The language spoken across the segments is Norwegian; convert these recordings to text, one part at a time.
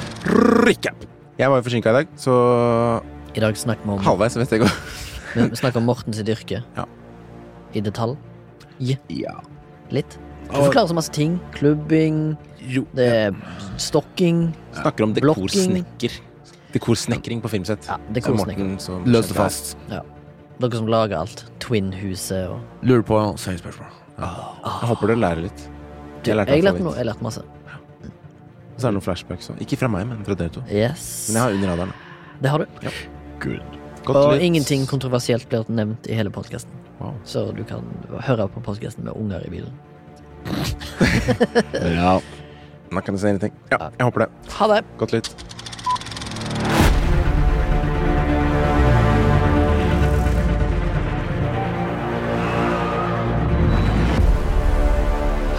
ikke. Jeg var jo forsinka i dag, så I dag snakker vi om, halvveis vet jeg ikke. vi vi snakker om Morten sitt yrke. Ja. I detalj. Ja. Litt. Du Og- forklarer så masse ting. Klubbing, Jo. det er stokking. Snakker om dekorsnekker. Dekorsnekring på filmsett. Ja, Så dekorsnekring. Morten som- Løst og fast. Dere som lager alt. Twin-huset og Lurer på seriøse spørsmål. Jeg håper du lærer litt. Ah. Du, Jeg lærte jeg lærte, alfabet. noe, jeg lærte masse. Og så er det noen flashbacks òg. Ikke fra meg, men fra dere to. Men Yes. jeg har under radaren. Det har du. Good. Godt Og lytt. ingenting kontroversielt blir nevnt i hele podkasten. Wow. Så du kan høre på podkasten med unger i bilen. Ja. Nå kan du si ingenting. Ja, jeg håper det. Ha det! Godt lytt.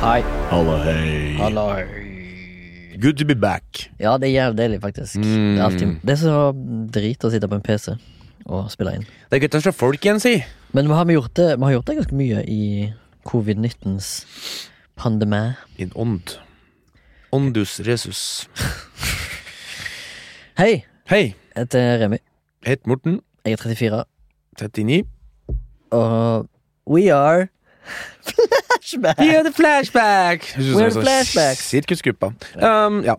Hei. Hallo, hei. Hallo. Good to be back. Ja, det er jævlig deilig, faktisk. Mm. Det, er alltid, det er så drit å sitte på en PC og spille inn. Det er godt å se folk igjen, si. Men vi har, gjort det, vi har gjort det ganske mye i covid-19s pandemi. In ånd. Åndus resus. Hei! Hei. Jeg heter Remi. Jeg heter Morten. Jeg er 34. 39. Og we are Flashback! Vi hadde flashback! We are the flashbacks. Sirkusgruppa. Um, ja.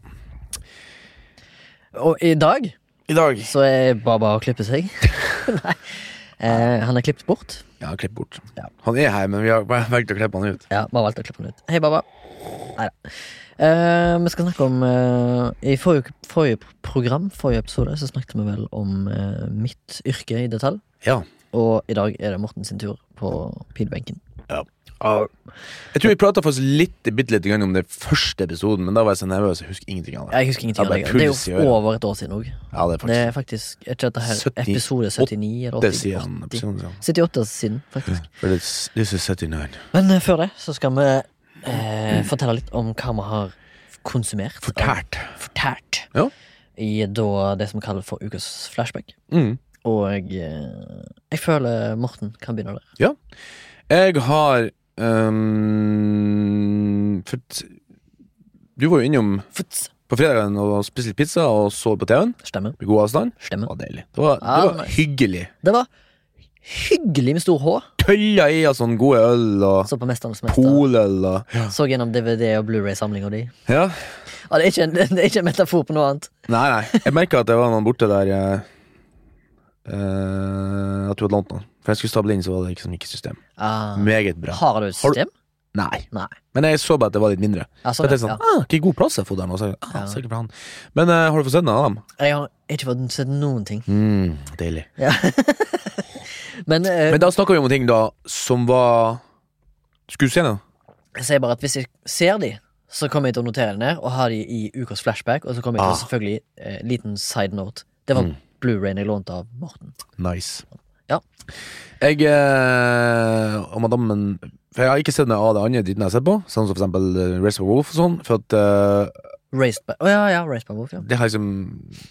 Og i dag I dag så er Baba å klippe seg. Nei. Eh, han er klippet bort. Ja, klipp bort. Ja. Han er her, men vi har valgt å klippe han ut. Ja, vi har valgt å klippe den ut. Hei, Baba. Nei da. Eh, vi skal snakke om eh, I forrige, forrige program, forrige episode, så snakket vi vel om eh, mitt yrke i detalj. Ja. Og i dag er det Morten sin tur på pilbenken. Jeg tror vi prata litt, bitte lite grann om det første episoden, men da var jeg så nervøs. Jeg husker ingenting av det. Jeg husker ingenting av Ja, det. det er Det er puls i jo øret. over et år siden òg. Ja, det er Det faktisk er faktisk er ikke dette her 70, episode 79 eller det 80, sier han. episoden, ja. 78 siden, faktisk. For this, this is 79. Men eh, før det så skal vi eh, fortelle litt om hva vi har konsumert. av- Fortært. Fortært. Ja. I da det som kalles for ukas flashback. Mm. Og eh, jeg føler Morten kan begynne der. Jeg har um, for, t- Du var jo innom Futs. på fredagen og spiste litt pizza og så på TV-en. Stemme. I god avstand. Stemme. Det var deilig. Det var, Ja, det var nice. hyggelig. Det var hyggelig med stor H. Tølla i av sånne gode øl og Så på Mesternes mester. poløl og Så gjennom DVD og Blu-ray-samlinga di. Ja. Ja, det, er ikke en, det er ikke en metafor på noe annet. Nei, nei. Jeg merka at det var noen borte der eh, eh, At du hadde lånt noen. For jeg skulle stable inn, så var det ikke som gikk i system. Ah. Meget bra. Har du et Har du- system? Nei. Nei. Men jeg så bare at det var litt mindre. Altså, Så jeg tenkte sånn, ja. ah, Hvilken god plass jeg har fått der nå. Så, jeg, ah, Ja. sikkert bra han. Men eh, har du fått sett noen av dem? Jeg har ikke fått sett noen ting. Mm, deilig. Ja. Men, eh, Men da snakker vi om ting da som var Skulle du se noe? jeg sier bare at hvis jeg ser de, så kommer jeg til å notere det ned og ha de i ukas flashback. Og så kommer jeg til å Ah. Mm. selvfølgelig eh, liten side note. Det var Blu-rayen jeg lånte av Morten. Nice. Ja. Jeg eh, og madammen For jeg har ikke sett noe av det andre dritten jeg har sett på, sånn som for eksempel eh, Race of Wolf og sånn, for at eh, Raised by, Å, ja, ja, Raised by Wolf, ja. det har liksom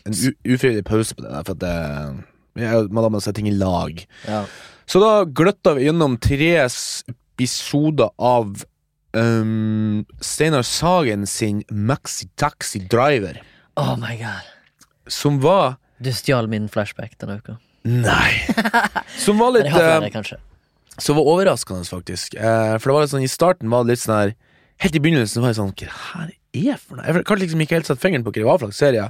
en u- ufrivillig pause på det der, for at eh, jeg og madammen ser ting i lag. ja. Så da gløtta vi gjennom tre s- episoder av um, Steinar Sagen sin Maxi Taxi Driver, Oh my god. som var Du stjal min flashback denne uka. Nei! Som var Men litt jeg har eh, flere, kanskje. Som var overraskende, faktisk. Eh, for det var litt sånn, i starten var det litt sånn her Helt i begynnelsen var jeg sånn Hva det her er for noe? Jeg klarte liksom ikke helt satt fingeren på hva det var for slags serie.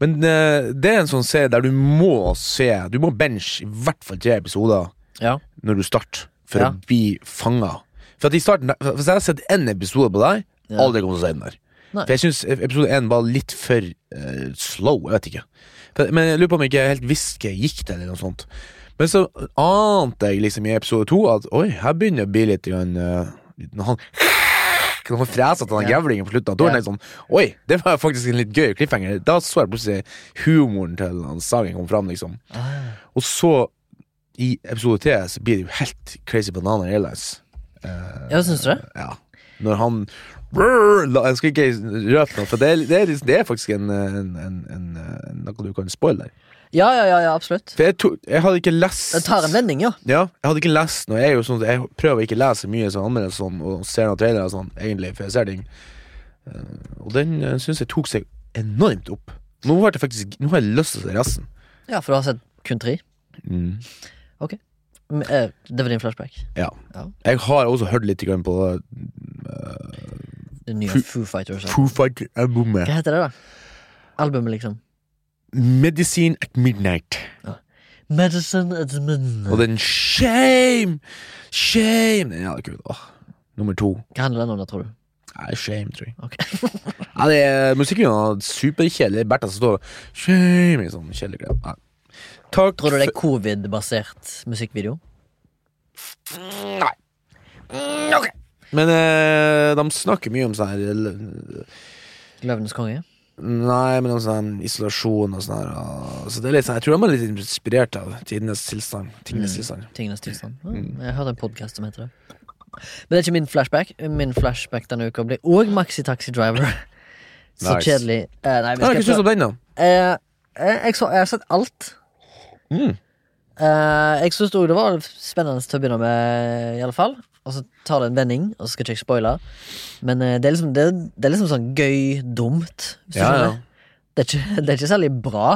Men eh, det er en sånn serie der du må se Du må benche i hvert fall tre episoder Ja. når du starter, for Ja. å bli fanga. For at i starten for- Hvis jeg hadde sett én episode på deg, Ja. aldri kom til å se den der. Nei. For jeg syns episode én var litt for eh, slow. Jeg vet ikke. For, men jeg lurer på om jeg ikke helt visste hva jeg gikk til, eller noe sånt. Men så ante jeg liksom i episode to at oi, her begynner det å bli litt grann, eh, liten han når han freser til den Ja. grevlingen på slutten. Da var Ja. jeg sånn, Oi, det var faktisk en litt gøy cliffhanger. Da så jeg plutselig humoren til han Sagen kom fram. Liksom. Ah. Og så, i episode 3, så blir det jo helt crazy banana airlines. ja, syns du det? Ja. Når han Brrr, la- Jeg skal ikke røpe noe, for det er, det er, liksom- det er faktisk en, en, en, en, en noe du kan spoile der. Ja, ja, ja, ja absolutt. For jeg, to, jeg hadde ikke lest Det tar en vending, ja. ja, jeg hadde ikke lest noe. Jeg, er jo sånn, at jeg prøver ikke å lese så mye sånn anmeldelser sånn, og ser noen eh, trailere og sånn, egentlig, før jeg ser ting. Eh, og den uh, syns jeg tok seg enormt opp. Nå har jeg faktisk Nå har jeg lyst til å se resten. Ja, for du har sett kun tre? Men, eh, Det var din flashback. Ja. Ja. Jeg har også hørt litt grann på eh, Det nye Foo- Foo Fighters. altså. Foo Fighter-albumet. Hva heter det, da? Albumet, liksom. Medisin at Midnight. Medicine at midnight. Og den Shame! Shame! Den er jævlig kul. Åh. Nummer to. Hva handler den om, da, tror du? Nei, shame, tror jeg. Ok. ja, det er musikkvideoen er superkjedelig. Bertha som står Shame i sånn kjedelig greie. Nei. Takk Tror du det er for- covid-basert musikkvideo? Nei. Mm, Ok. Men eh, de snakker mye om sånn her l- Løvenes konge? Nei, men om sånn isolasjon og sånn her. og- Så det er litt sånn, jeg tror de er litt inspirert av tidenes tilstand. Tingenes Mm. tilstand. Tingenes tilstand. Ja, Mm. Jeg hørte en podkast som heter det. Men det er ikke min flashback. Min flashback denne uka blir òg Maxi Taxi Driver. Så Nice. kjedelig. Eh, nei, vi Jeg har skal ikke syns om den, da. Eh, eh, jeg, så, jeg har sett alt. Mm. Eh, jeg syns òg det var spennende til å begynne med, i alle fall. Og så tar det en vending, og så skal ikke jeg spoile. Men eh, det, er liksom, det, det er liksom sånn gøy, dumt. Hvis du Ja, skjønner. ja. Det, er ikke, det er ikke særlig bra,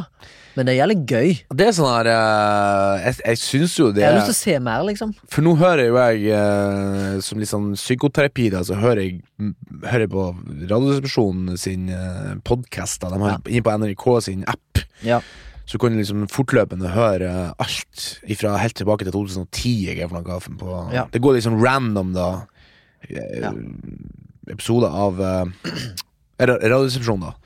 men det er jævlig gøy. Det er sånn her eh, Jeg, jeg syns jo det Jeg har lyst til å se mer, liksom. For nå hører jo jeg, eh, som litt sånn psykoterapi, da, så hører jeg m- hører på Radioresepsjonen sin eh, podcast, da, De har inne på NRK sin app. Ja. Så kan du liksom fortløpende høre alt fra helt tilbake til 2010. Jeg er for noe, for på, Ja. Det går liksom random, da. eh, Ja. Episoder av eh, ra- Radioresepsjonen, da.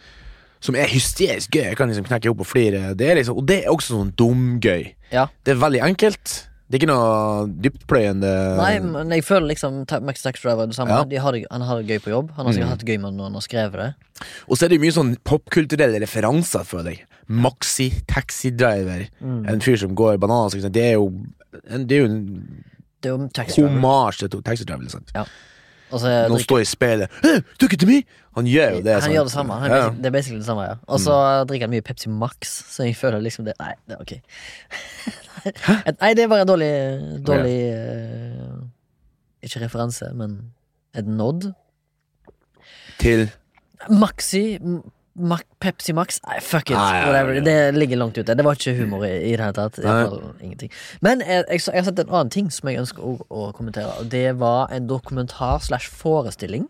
Som er hysterisk gøy. Jeg kan liksom knekke opp og flire. Det er liksom, og det er også sånn dumgøy. ja. Det er veldig enkelt. Det er ikke noe dyptpløyende Nei, men jeg føler liksom ta- Max Tax Driver er det samme. Eh. Ja. Mm. De har det, han har det gøy på jobb. Han har sikkert hatt det gøy med det når han har skrevet det. Og så er det mye sånn popkulturelle referanser, føler jeg. Maxi, taxidriver, Mm. en fyr som går bananas. ikke sant? Det er jo en, det er jo en Det er jo Tax Driver. homasj til taxidriver. Liksom. Ja. Og så er Noen står i speilet «Hæ, Took it to me! Han gjør jo det. han sant? gjør det samme. Han, er liksom- ja. Mm. basic- Det er basically det samme, ja. Og så drikker han mye Pepsi Max, så jeg føler liksom det Nei, det er ok. Et- nei, det er bare en dårlig, dårlig eh, Ikke referanse, men et nod. Til Maxi m- Mac, Pepsi Max Nei, fuck it. Nei, nei, nei, Whatever. nei. Det ligger langt ute. Det var ikke humor i, i det hele tatt. I Nei. hvert fall ingenting. Men jeg, jeg, så- jeg har sett en annen ting som jeg ønsker å, å kommentere. Og det var en dokumentar slash forestilling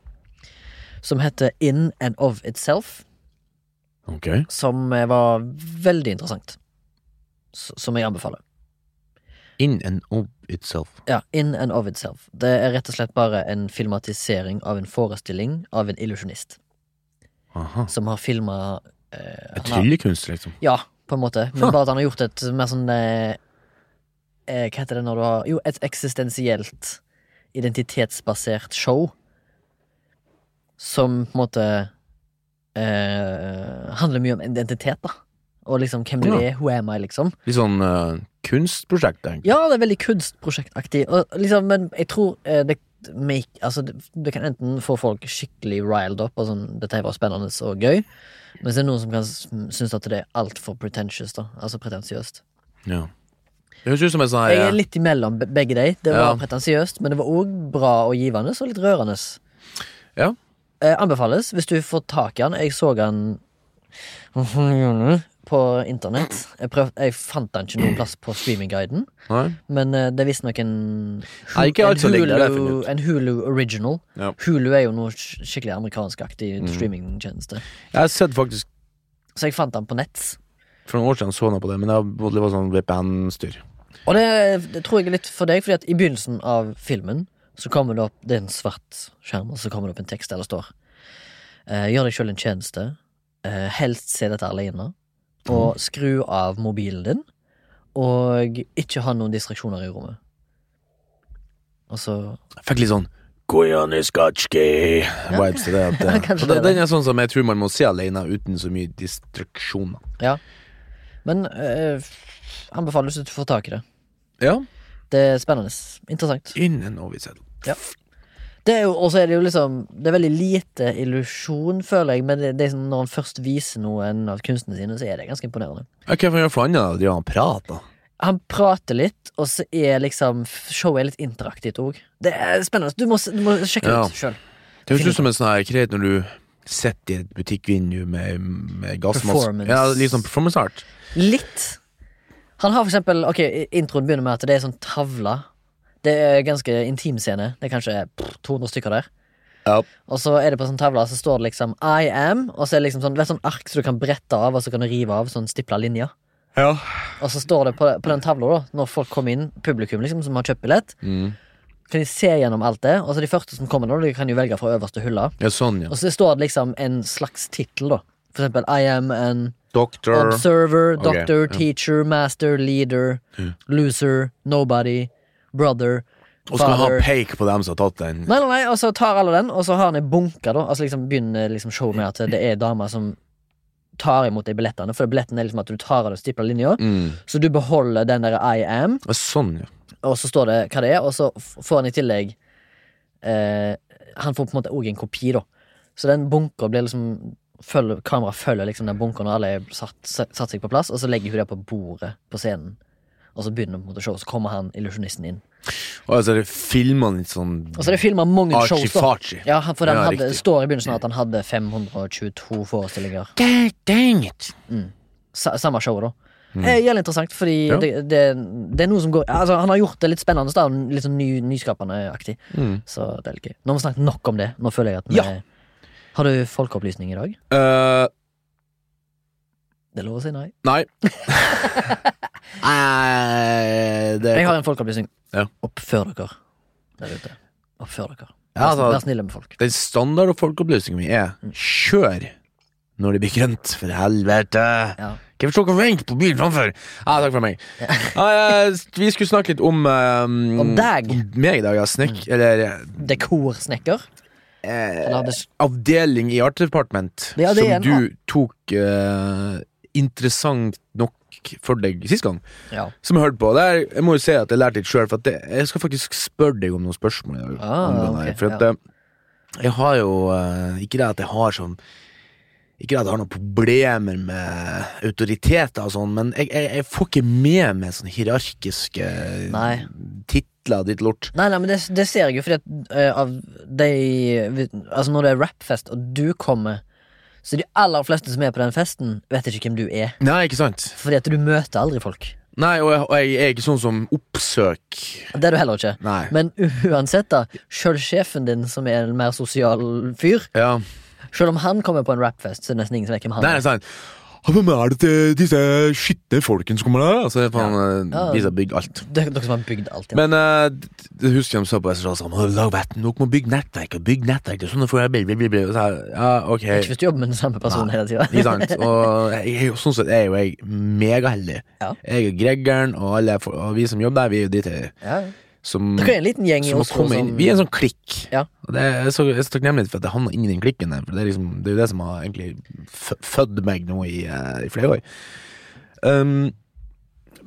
som heter In and of Itself Ok. som eh, var veldig interessant. S- Som jeg anbefaler. In and of itself. Ja, In and of itself. Det er rett og slett bare en filmatisering av en forestilling av en illusjonist. Aha. Som har filma eh, han har- Tryllekunst, liksom. Ja, på en måte. Men Huh. bare at han har gjort et mer sånn eh, eh, Hva heter det når du har Jo, et eksistensielt, identitetsbasert show. Som på en måte eh, handler mye om identitet, da. Og liksom hvem du Ja. er, who am I, liksom. Litt sånn eh, kunstprosjekt, egentlig. Ja, det er veldig kunstprosjektaktig. Og liksom, men jeg tror eh, det, make, altså, det, det kan enten få folk skikkelig riled up og sånn 'dette her var spennende og gøy', men så er det noen som kan s- synes at det er altfor pretentious. da Altså pretensiøst. Ja. Det høres ut som en sånn Jeg er her litt imellom be- begge de. Det var Ja. pretensiøst, men det var òg bra og givende og litt rørende. Ja. Eh, anbefales hvis du får tak i han. Jeg så han på internett. Jeg, prøv, jeg fant han ikke noen plass på streamingguiden. Nei. Men eh, det er visstnok en, hu- Nei, ikke alt som en, ligger der, det har jeg Hulu, funnet ut. en Hulu original. Ja. Mm. Hulu er jo noe sk- skikkelig amerikanskaktig streamingtjeneste. Jeg har sett faktisk Så jeg fant den på nett. For noen år siden så jeg noe på det, men det var- det var sånn VPN-styr. Og det, det tror jeg er litt for deg, fordi at i begynnelsen av filmen så kommer det opp Det er en svart skjerm, og så kommer det opp en tekst der det står eh, Gjør deg sjøl en tjeneste. Eh, helst se dette alene. Mm. Og skru av mobilen din. Og ikke ha noen distraksjoner i rommet. Og så Jeg fikk litt sånn Koyaniskatski-vibes til det. At, kanskje og det det er det. den er sånn som jeg tror man må se alene uten så mye distraksjoner. Ja. Men eh, anbefaler du å få tak i det. Ja. Det er spennende. Interessant. Innen oversettel. Det er jo, og så er det jo liksom Det er veldig lite illusjon, føler jeg, men det, det er sånn, når han først viser noen av kunstene sine, så er det ganske imponerende. Hva kan man gjøre for annet enn å drive og prate? da? Han prater litt, og så er liksom showet er litt interaktivt òg. Det er spennende. Du må, s- du må sjekke det Ja. ut sjøl. Det høres ut som en sånn her greit når du sitter i et butikkvindu med, med gassmaske. Performance. Ja, litt sånn performance art. Litt. Han har for eksempel Ok, introen begynner med at det er sånn tavle. Det er ganske intim scene. Det er kanskje pff, 200 stykker der. Ja. Og så er det på sånn tavle så står det liksom I am, og så er det liksom sånn, vet, sånn ark som du kan brette av, og så kan du rive av sånn stipla linjer. Ja. Og så står det på, på den tavla, da, når folk kommer inn, publikum liksom, som har kjøpt billett, Mm. kan de se gjennom alt det. Og så de første som kommer, da, de kan jo velge fra øverste hylla. ja, sånn, ja. Og så står det liksom en slags tittel, da. For eksempel I am an Doctor Observer, Ok, doctor, ja. teacher, master, leader, loser, nobody, brother, Og skal ha father peik på dem som har tatt den. Nei, nei, nei, og så tar alle den, og så har han en bunke, da. Altså liksom begynner liksom showet med at det er damer som tar imot de billettene, for billetten er liksom at du tar av den stipla linja, Mm. så du beholder den der I am, Ja, sånn, ja. og så står det hva det er, og så f- får han i tillegg eh, Han får på en måte òg en kopi, da. Så den bunka blir liksom følger, Kamera følger liksom den bunka når alle er satt, satt seg på plass, og så legger hun det på bordet på scenen. Og så begynner på en måte showet, så kommer han illusjonisten inn. Og så er det filmene litt sånn Og så er det filma mange shows, da. Archie-farchie. Ja, han- for den Ah, Ja, hadde, riktig. står i begynnelsen at han hadde 522 forestillinger. Dang, dang it! Sa, samme show, da. Eh, Gjelder interessant, fordi Mm. Ja. det, det, det er noe som går Altså, Han har gjort det litt spennende, da, og litt sånn ny, nyskapende-aktig. Mm. Så det er litt gøy. Nå har vi snakket nok om det. Nå føler jeg at vi Ja. Har du folkeopplysning i dag? Eh, Det er lov å si nei. nei. Nei, det Jeg har en folkeopplysning. Ja. Oppfør dere der ute. Oppfør dere. Ja, altså- Vær snille med folk. Den standard og folkeopplysningen min er kjør når det blir grønt, for helvete. Ja. Hvorfor står dere og venter på bilen framfor? Ja, takk for meg. Ja, eh, vi skulle snakke litt om eh, Om deg. Mm. Om meg i dag, ja. Snekk... Eller Dekorsnekker. eh, Han hadde s- avdeling i Art Department Ja, det som er en du tok eh, interessant nok for deg sist gang, Ja. som jeg hørte på. Der, jeg må jo si at jeg lærte litt sjøl, for at det, jeg skal faktisk spørre deg om noen spørsmål eh, i dag. Ah, angående ok, her, for at, ja. eh, jeg har jo eh, Ikke det at jeg har sånn ikke det at jeg har noen problemer med autoriteter, og sånn, men jeg, jeg, jeg får ikke med meg sånne hierarkiske eh, Nei. titler og ditt lort. Nei, nei, men det, det ser jeg jo, fordi at eh, av de vi- Altså, når det er rappfest, og du kommer, så de aller fleste som er på den festen, vet ikke hvem du er. Nei, ikke sant? Fordi at du møter aldri folk. Nei, Og jeg, og jeg er ikke sånn som oppsøker Det er du heller ikke. Nei. Men uansett, da. Sjøl sjefen din, som er en mer sosial fyr, Ja. Selv om han kommer på en rapfest, så er det nesten ingen som vet hvem han Nei, er. det er sant. Ja, Hvem er det til disse skitne folkene som kommer der? Altså, faen, ja. Ja. De som har bygd alt. Dere, dere som har bygd alt. Ja. Men eh, d- d- husker jeg de sa på SSA sånn «Å, Lag vett, dere må bygge nettverk og bygge nettverk. Det er sånn det får jeg, bli, bli, bli, bli». Og så er jeg, Ja, ok. Ikke sånn. hvis du jobber med den samme personen hele tida. Ikke sant? Og jeg, er jo- sånn sett er jo jeg megaheldig. Ja. Jeg og Greggeren og alle for- og vi som jobber der, vi er jo drittøye. Ja. Som, Dere er en liten gjeng i som har Oslo kommet som inn. Vi er en sånn klikk. Ja. Og det er, jeg, er så, jeg er så takknemlig for at jeg havna inn i den klikken der, for det er, liksom, det er jo det som har egentlig f- født meg nå i, eh, i flere år. Um,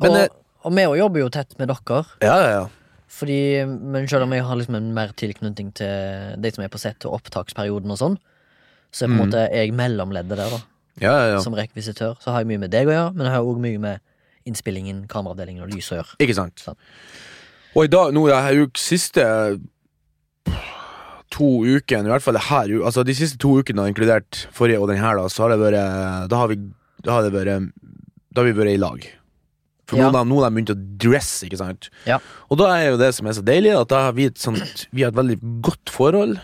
men eh, og, og vi òg jobber jo tett med dere, Ja, ja, ja. Fordi, men selv om jeg har liksom en mer tilknytning til de som er på sett, og opptaksperioden og sånn, så er på en Mm. måte jeg mellomleddet der, da. ja, ja, ja. Som rekvisitør. Så har jeg mye med deg å gjøre, men jeg har òg mye med innspillingen, kameraavdelingen og lys å gjøre. Ikke sant. Sant. Og i dag, nå er her uke siste to ukene, i hvert fall det her, u- altså de siste to ukene, inkludert forrige og den her, da, så har det vært eh, Da har vi Da har det vært eh, Da har vi vært i lag. For Ja. noen av dem nå har de begynt å dresse, ikke sant. Ja. Og da er jo det som er så deilig, at da har vi et sånt Vi har et veldig godt forhold.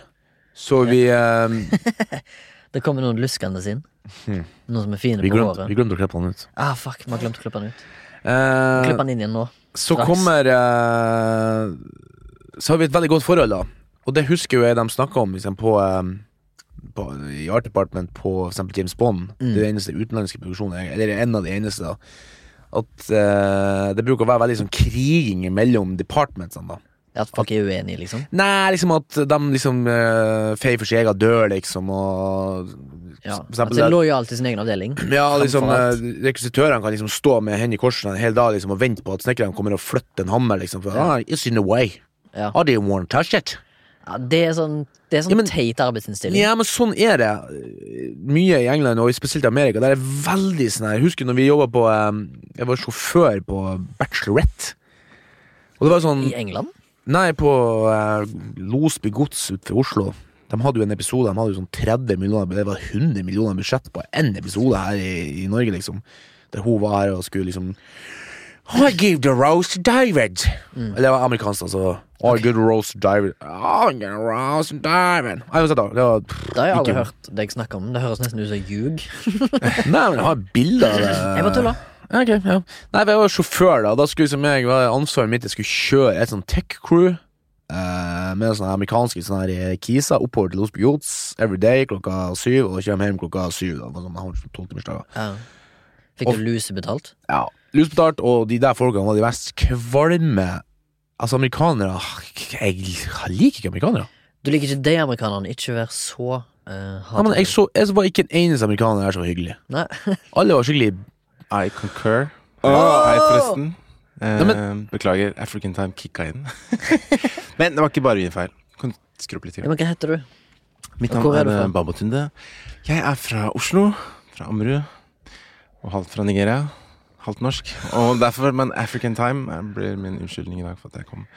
Så vi eh, Det kommer noen luskende inn. Noen som er fine Hmm. Vi på glemte, håret. vi glemte å klippe han ut. Ah, fuck, vi har glemt å klippe den ut. Eh, Klipp den inn igjen nå. Så Straks. kommer eh, Så har vi et veldig godt forhold, da. Og det husker jo jeg de snakka om liksom, på, eh, på, i Art Department på for eksempel James Bond. Det er den eneste utenlandske produksjonen, jeg- eller en av de eneste, da. At eh, det bruker å være veldig sånn kriging mellom departmentsene, da. At folk er uenige, liksom. Nei, liksom at de liksom uh, feier for sin egen dør, liksom, og Ja, For at eksempel de er der- lojal til sin egen avdeling. ja, liksom, Framfor alt. eh, Rekvisitørene kan liksom stå med hendene i korset en hel dag liksom, og vente på at snekkerne kommer og flytter en hammer. Liksom, for, ah, it's in the way. Ja. I didn't want to touch it. Ja, det er sånn, det er sånn Ja, men- teit arbeidsinnstilling. Ja, men sånn er det eh, mye i England, og spesielt i Amerika. Der er veldig sånn her. Jeg husker når vi jobba på eh, Jeg var sjåfør på Bachelorette. Og det var sånn I England? Nei, på eh, Losby gods utenfor Oslo. De hadde jo en episode De hadde jo sånn 30 millioner Det var 100 millioner budsjett på en episode her i, i Norge liksom Der hun var her og skulle liksom I give the rose to David Eller det var amerikansk altså Mm. I give the rose to David I give the rose to David Nei, uansett da, det var, Det har jeg aldri Ikke- hørt deg snakke om. Det høres nesten ut som ljug. Nei, men jeg har bilder av det Jeg bare tuller. Ja, ok, ja. Nei, for jeg var sjåfør da Da skulle som jeg var ansvaret mitt Jeg skulle kjøre et sånn tech crew eh, Med sånne amerikanske sånne her eh, Kisa Oppover til Osby Jots Every day klokka syv Og kjøre hjem klokka syv da For sånn, jeg har sånn 12 timers dager Ja. Fikk Og- du luse betalt? Ja, lusbetalt Og de der folkene var de mest kvalme Altså amerikanere Jeg liker ikke amerikanere Du liker ikke de amerikanerne. Ikke vær så uh, Nei, men jeg så Jeg var ikke en eneste amerikaner her som var hyggelig Nei. Alle var skikkelig I concur. Åh! Nei, forresten. Eh, Nei, Beklager, African Time kicka inn. men det var ikke bare min feil. Kan du skru opp litt Ja, til. men hva heter du? Mitt og navn hvor er er, du fra? eh, Babo Tunde. Jeg er fra Oslo. Fra Ammerud. Og halvt fra Nigeria. Halvt norsk. Og derfor, men African Time eh, blir min unnskyldning i dag for at jeg kom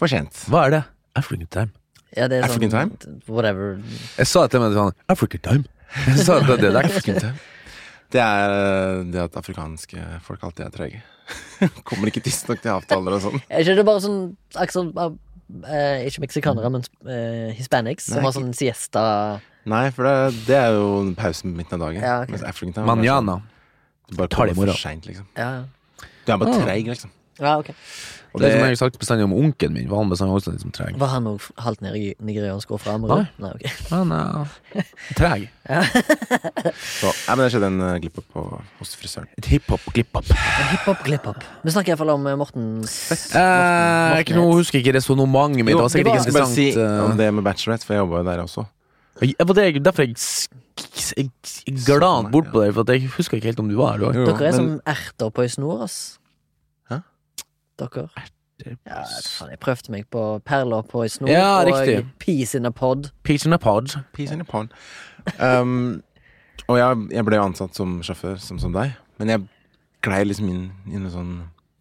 for sent. Hva er det? African time Ja, det er African sånn, Whatever. Jeg sa det til meg sånn African time Jeg sa det til det der African Time. Det er eh, det at afrikanske folk alltid er trege. Kommer ikke tidsnok til avtaler og sånn. Er ikke det bare sånn aksen, av, eh, Ikke meksikanere, men eh, hispanics som Nei, har sånn siesta Nei, for det, det er jo pausen på midten av dagen. Ja, ok. Mens African Time er bare sånn, Manjana du bare Tar det i kommer for morgen. sent, liksom. Ja, Du er bare Ah. treig, liksom. ja ok. Og det, det, er som jeg har sagt bestandig om onkelen min, var han bestandig også liksom treg. Var han òg halvt nigeri- nigeriansk og fra Ammerud? Nei. ok. Han er treg. så, nei, men det skjedde en uh, glipp opp på, hos frisøren. Et hiphop-glipp-opp. Hiphop, glipp-hop. Vi snakker iallfall om eh, Mortens Eh, ikke noe, husker ikke resonnementet mitt. Det var jeg sikkert ikke skal bare interessant. si om eh, det med bachelorette, for jeg jobba jo der også. jeg- eh, var det, derfor jeg, sk- jeg, jeg glanet bort på deg, for at jeg husker ikke helt om du var her. Du var. Dere er men, som erter på ei snor, ass. Hæ? Dere. Erter Ja, faen, jeg prøvde meg på perler på ei snor Ja, og riktig. peace in a pod. Peach in a pod. Peace in a pond. Um, og jeg, jeg ble jo ansatt som sjåfør, som, som deg. Men jeg glei liksom inn i en sånn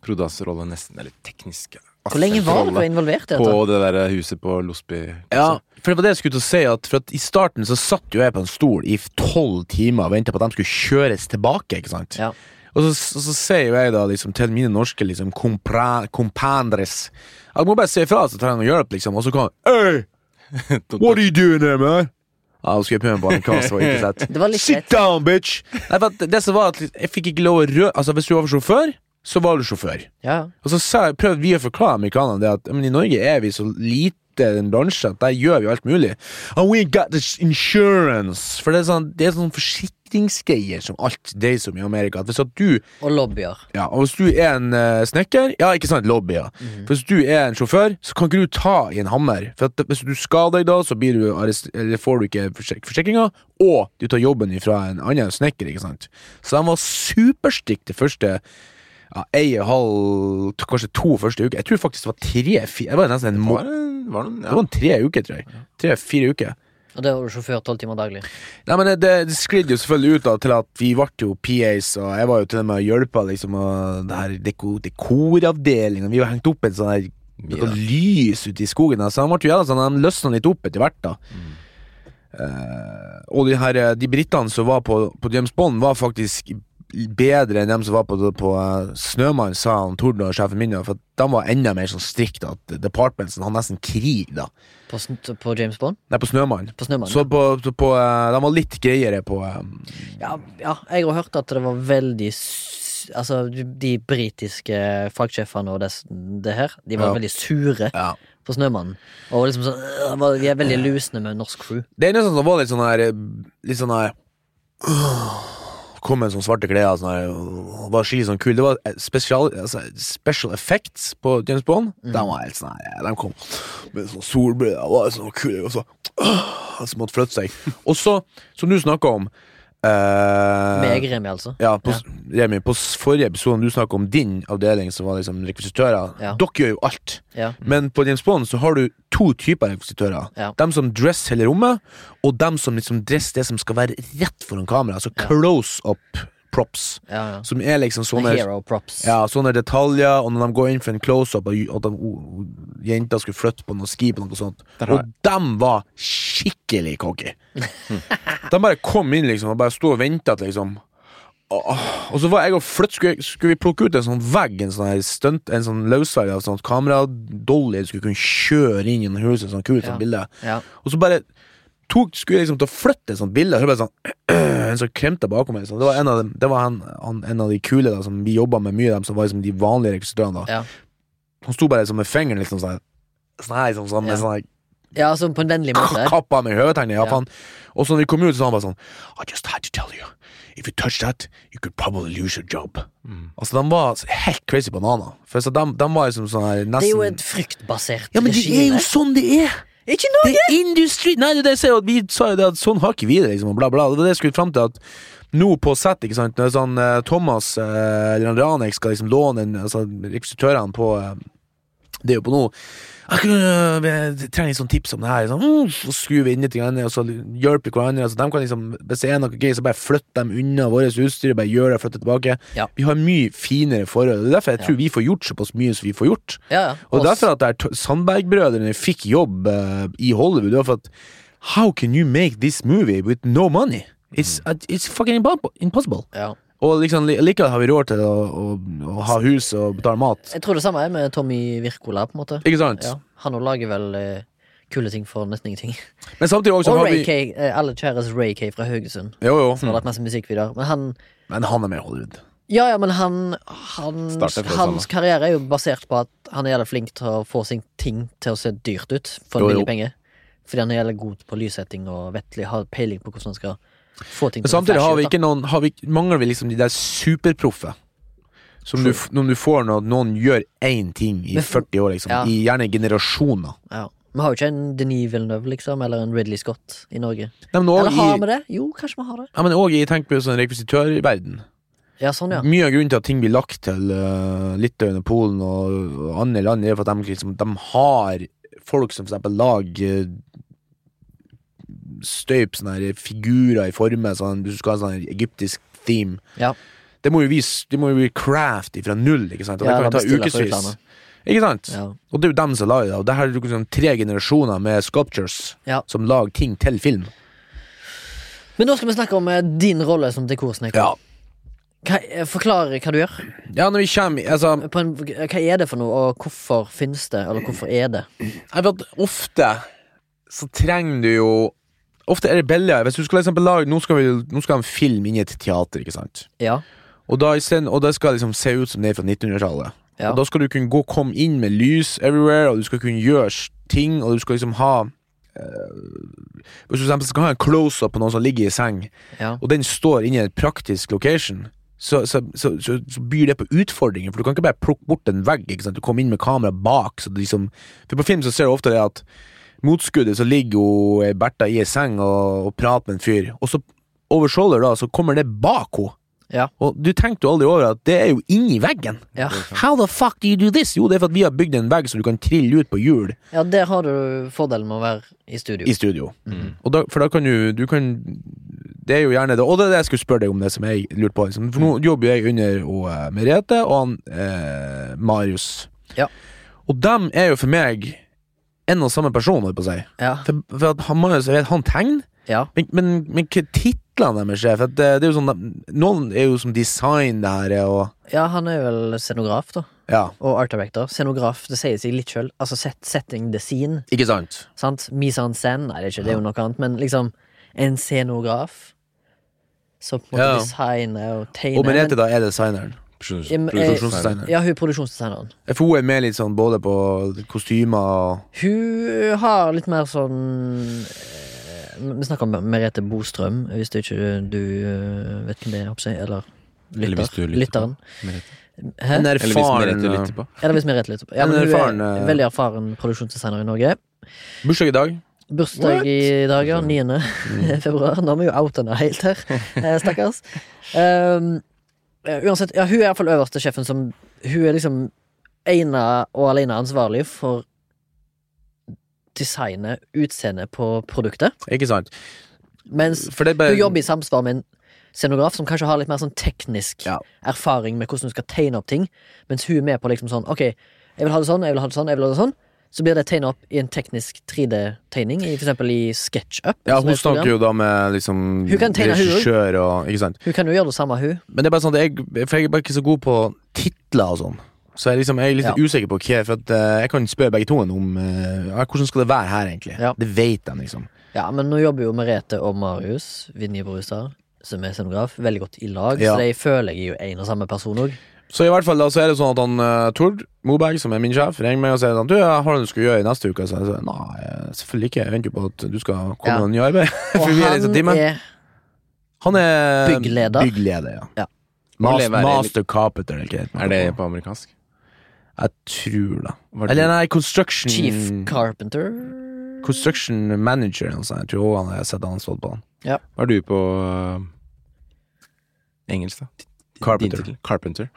Prodas-rolle, nesten. Eller teknisk. Hvor lenge var du involvert i På dette? det der huset på Losby. Ja, for det var det jeg skulle til å si. At, for at I starten så satt jo jeg på en stol i tolv timer og venta på at de skulle kjøres tilbake. ikke sant? Ja. Og så, så, så sier jo jeg da liksom, til mine norske liksom, kompra- compandres Jeg må bare si ifra, så trenger jeg hjelp, liksom. Og så kommer Hey, what are you doing there, man? Ja, nå skulle jeg prøve meg på amerikansk, det var ikke sett. Det var litt Sit greit. down, bitch! Nei, for at det som var at Jeg fikk ikke lov å rø... Altså, hvis du var sjåfør, så var du sjåfør. Ja. Og så sa, prøvde vi å forklare amerikanerne det at men i Norge er vi så lite en bransje at der gjør vi alt mulig. And we got this insurance. For det er sånn, det er sånn forsikringsgreier som alt det som i Amerika. At hvis at du, Og lobbyer. ja, og hvis du er en eh, snekker, ja, ikke sant, lobby, ja. Mhm. For hvis du er en sjåfør, så kan ikke du ta i en hammer. For at hvis du skader deg da, så blir du arrest, eller får du ikke forsek forsikringa, og du tar jobben fra en annen snekker, ikke sant. Så de var superstygge det første ja, ei og halv, t- kanskje to første uker. Jeg tror faktisk det var tre, fire, det var nesten en Var måned. det, var det, Det var en tre uker, tror jeg. Tre-fire uker. Og det var du sjåfør tolv timer daglig. Nei, men det, det sklidde jo selvfølgelig ut da, til at vi ble jo PAs, og jeg var jo til og med og hjelpa liksom, og det her deko, dekoravdelinga. Vi var hengt opp en sånn her Ja. noe lys ute i skogen, da, så de, ble jo, gjerne sånn, de løsna litt opp etter hvert. da. Eh, og de, her, eh, de britene som var på, på James Bond, var faktisk bedre enn dem som var på, på eh, Snømann, sa han Tord og sjefen min, da, for at de var enda mer sånn strikt at departmentsen hadde nesten krig da. På, sn- på James Bond? Nei, på Snømann. På Snømannen? Så på, så på eh, De var litt greiere på eh, Ja, ja, jeg har hørt at det var veldig s- Altså, de- de britiske fagsjefene og det, det her, de var Ja. veldig sure Ja. på Snømannen. Og liksom sånn øh, var- Vi er veldig lusne med norsk crew. Det eneste som var litt sånn her Litt sånn her Kom med sånne svarte klær sånn her, Var skikkelig sånn kul Det var spesial, altså, special effects på James Bond Mm. De var helt sånn her De kom med sånn solbrød Det var sånn kul Og så Så måtte flytte seg Og så Som du snakket om eh, Med Gremi, altså. ja, på, Remi, på s- forrige episode du snakket om din avdeling Som var liksom rekvisitører Ja. Dere gjør jo alt Ja. men på James Bond så har du to typer rekvisitører. Mm. Ja. Dem som dress hele rommet, og dem som liksom dress det som skal være rett foran kamera. Altså close up props, Ja, ja. som er liksom sånne Hero props. ja, sånne detaljer, og når de går inn for en close-up og at de, oh, jenta skulle flytte på noe ski på noe sånt, Der har og dem var skikkelig cocky. de bare kom inn liksom og bare sto og venta til liksom Åh, Og så var jeg og flytt, skulle, jeg- skulle vi plukke ut en sånn vegg, en sånn her stunt, en sånn løsvegg av sånn kameradolly, du skulle kunne kjøre inn gjennom huset, sånn kult Ja. sånn bilde. Ja. Og så bare tok, skulle jeg liksom til å flytte et sånt bilde, og så bare sånn En som kremte bakom meg. Sånn. Det var en av, dem, det var han, han, en av de kule da, som vi jobba med mye, dem som var liksom de vanlige rekvisitørene. da Ja. Han sto bare liksom med fingeren liksom sånn Sånn her, liksom, sånn, med Ja. sånn her ja, altså på en vennlig måte. k- kappa med høytene. Ja, Ja. faen. Og så når vi kom ut, så han bare sånn I just had to tell you. If you touch that, you could probably lose your job. Altså, de var helt crazy bananer. For så de, de var liksom sånn her nesten Det er jo et fryktbasert Ja, men det er regime. jo sånn det er! Ikke nå! Det er industri Nei, det er det jeg sier at vi sa jo det at sånn har ikke vi det, liksom, og bla, bla. Det var det jeg skulle fram til, at nå på sett, ikke sant, når sånn eh, Thomas eh, eller han Ranek skal liksom låne en, altså rekvisitørene på eh, det er jo på nå Jeg kunne eh, jeg trenger litt sånn tips om det her, liksom. mm, så skrur vi inn litt, grann, og så hjelper vi hverandre. Altså, de kan liksom, hvis det er noe gøy, så bare flytt dem unna vårt utstyr, bare gjør det, flytt det tilbake. Ja. Vi har mye finere forhold. Det er derfor jeg Ja. tror vi får gjort såpass mye som vi får gjort. Ja, ja. Og Oss. derfor at det er to- Sandberg-brødrene fikk jobb eh, i Hollywood, det var for at How can you make this movie with no money? It's, Mm. at- it's fucking impo- impossible. Ja. Og liksom, li- likevel har vi råd til å, å, å ha hus og betale mat. Jeg tror det samme er med Tommy Wirkola, på en måte. Ikke sant? Ja. Han også lager vel eh, kule ting for nesten ingenting. Men samtidig også Og har Ray vi Mm. K, eh, alle kjæres Ray K fra Haugesund. jo, jo. Som har lagt masse musikkvideoer. Men han Men han er med i Hollywood. Ja, ja, men han, han Starter fra Hans samme. karriere er jo basert på at han er jævlig flink til å få sin ting til å se dyrt ut for Jo, mye jo. penger. Fordi han er jævlig god på lyssetting og vettlig, har peiling på hvordan han skal få ting Men til å samtidig flashe har vi ut, da. ikke noen har vi, mangler vi liksom de der superproffe. Som du, f- når du får når noen gjør én ting i Men- 40 år, liksom. Ja. I gjerne generasjoner. Ja. Vi har jo ikke en Denis Villeneuve, liksom, eller en Ridley Scott i Norge. Nei, men Eller har òg i, vi det? Jo, kanskje vi har det. ja, men også i tenk på sånn rekvisitørverden. Ja, sånn, ja. Mye av grunnen til at ting blir lagt til uh, Litauen og Polen og og andre land, er for at de, liksom, de har folk som for eksempel lager eh, støyp sånne her figurer i former, sånn, hvis du skal ha sånn her egyptisk theme. Ja. Det må jo vi, det må jo vi craft fra null, ikke sant? Og Ja, det eller kan jo bestiller ta fra ukevis. utlandet. Ikke sant? Ja. Og det er jo dem som lager det. Og det her er jo liksom tre generasjoner med sculptures Ja. som lager ting til film. Men nå skal vi snakke om eh, din rolle som dekorsnekker. Ja. Hva, eh, forklar hva du gjør. ja, når vi kommer altså, På en, hva er det for noe, og hvorfor finnes det? Eller hvorfor er det? Jeg vet at ofte så trenger du jo Ofte er det billigere. Hvis du skal liksom lage Nå skal, vi, nå skal en film inn i et teater, ikke sant? Ja. Og da, i stedet- og det skal liksom se ut som det er fra 1900-tallet. Ja. Og da skal du kunne gå komme inn med lys everywhere, og du skal kunne gjøre s- ting, og du skal liksom ha eh, Hvis du for eksempel skal ha en close-up på noen som ligger i seng, ja. og den står inne i en praktisk location, så, så, så, så, så byr det på utfordringer, for du kan ikke bare plukke bort en vegg. Ikke sant? Du kommer inn med kamera bak. Så det liksom, for på film så ser du ofte det at motskuddet så ligger jo eh, Bertha i ei seng og, og prater med en fyr, og så over shoulder da, så kommer det bak henne. Ja. Og du tenkte jo aldri over at det er jo inni veggen. Ja. How the fuck do you do this? Jo, det er for at vi har bygd en vegg så du kan trille ut på hjul Ja, der har du fordelen med å være i studio. i studio. Og da, for da kan du, du kan, Det er jo gjerne det Og det er det jeg skulle spørre deg om, det som jeg lurte på. Liksom. For nå jobber jeg under og, eh, Merete og han, eh, Marius. Ja. Og dem er jo for meg en og samme person, holdt jeg på å si. Ja. For, for at han, Marius, jeg vet, han tegner, ja. men, men, men hva titlene deres er? For at det, det er jo sånn, noen er jo som design det her, og Ja, han er vel scenograf, da. Ja, Og art director. Scenograf, det sier seg litt sjøl. Altså set, setting the scene. ikke sant? Sant? Mise en scene. Nei, det er ikke det, er jo noe annet, men liksom en scenograf. Som på en måte Ja. designer og tegner. Og Merete, da, er designeren. Im- eh, Produksjonsdesigner. men, ja, hun er produksjonsdesigneren. For hun er med litt sånn både på kostymer og Hun har litt mer sånn eh, Vi snakker om Merete Bostrøm, hvis du ikke du eh, vet hvem det er, håper jeg, eller Eller hvis du lytter, lytter lytteren. på. Merete. Hæ? En Eller hvis erfaren Merete lytter eh, på. Eller hvis vi retter litt på. Ja, En men hun erfaren, er eh, veldig erfaren produksjonsdesigner i Norge. eh, Bursdag i dag. Bursdag i dag, ja. 9. februar. Nå er vi jo outa henne helt her, eh, stakkars. Um, eh, uansett, ja, hun er iallfall øverste sjefen som Hun er liksom ene og alene ansvarlig for designet, utseendet på produktet, Ikke sant? mens For det er hun bare jobber i samsvar med en scenograf som kanskje har litt mer sånn teknisk Ja. erfaring med hvordan du skal tegne opp ting, mens hun er med på liksom sånn Ok, jeg vil ha det sånn, jeg vil ha det sånn, jeg vil ha det sånn. Så blir det tegna opp i en teknisk 3D-tegning, i for eksempel i SketchUp. Ja, som er hun et program. snakker jo da med liksom Hun kan tegne hun også. regissør og Ikke sant? Hun kan jo gjøre det samme, hun. Men det er bare sånn at jeg, for jeg er bare ikke så god på titler og sånn. Så jeg, liksom, jeg er litt Ja. usikker på hva For at, eh, jeg kan spørre begge to om eh, ja, hvordan skal det være her, egentlig. Ja. Det vet de, liksom. Ja, men nå jobber jo Merete og Marius, Vinje Brustad, som er scenograf, veldig godt i lag, Ja. så de føler jeg er jo en og samme person òg. Så i hvert fall da, så er det sånn at han eh, Tord Moberg, som er min sjef, ringer meg og sier sånn Du, jeg har noe du skal gjøre i neste uke. Så jeg sier nei, eh, selvfølgelig ikke. Jeg venter jo på at du skal komme Ja. med nye arbeid. Og For vi er litt han sånn, Dimmen, er han er eh, Byggleder. Byggleder, ja. Ja. Må Mas leve her i- master carpenter, eller hva det heter. Er det på amerikansk? Jeg tror det. Var det- Eller nei, construction chief carpenter. Construction manager eller noe sånt. Jeg tror også han har sett han stått på han. Var du på eh, engelsk, da? Din Carpenter. tittel? Carpenter.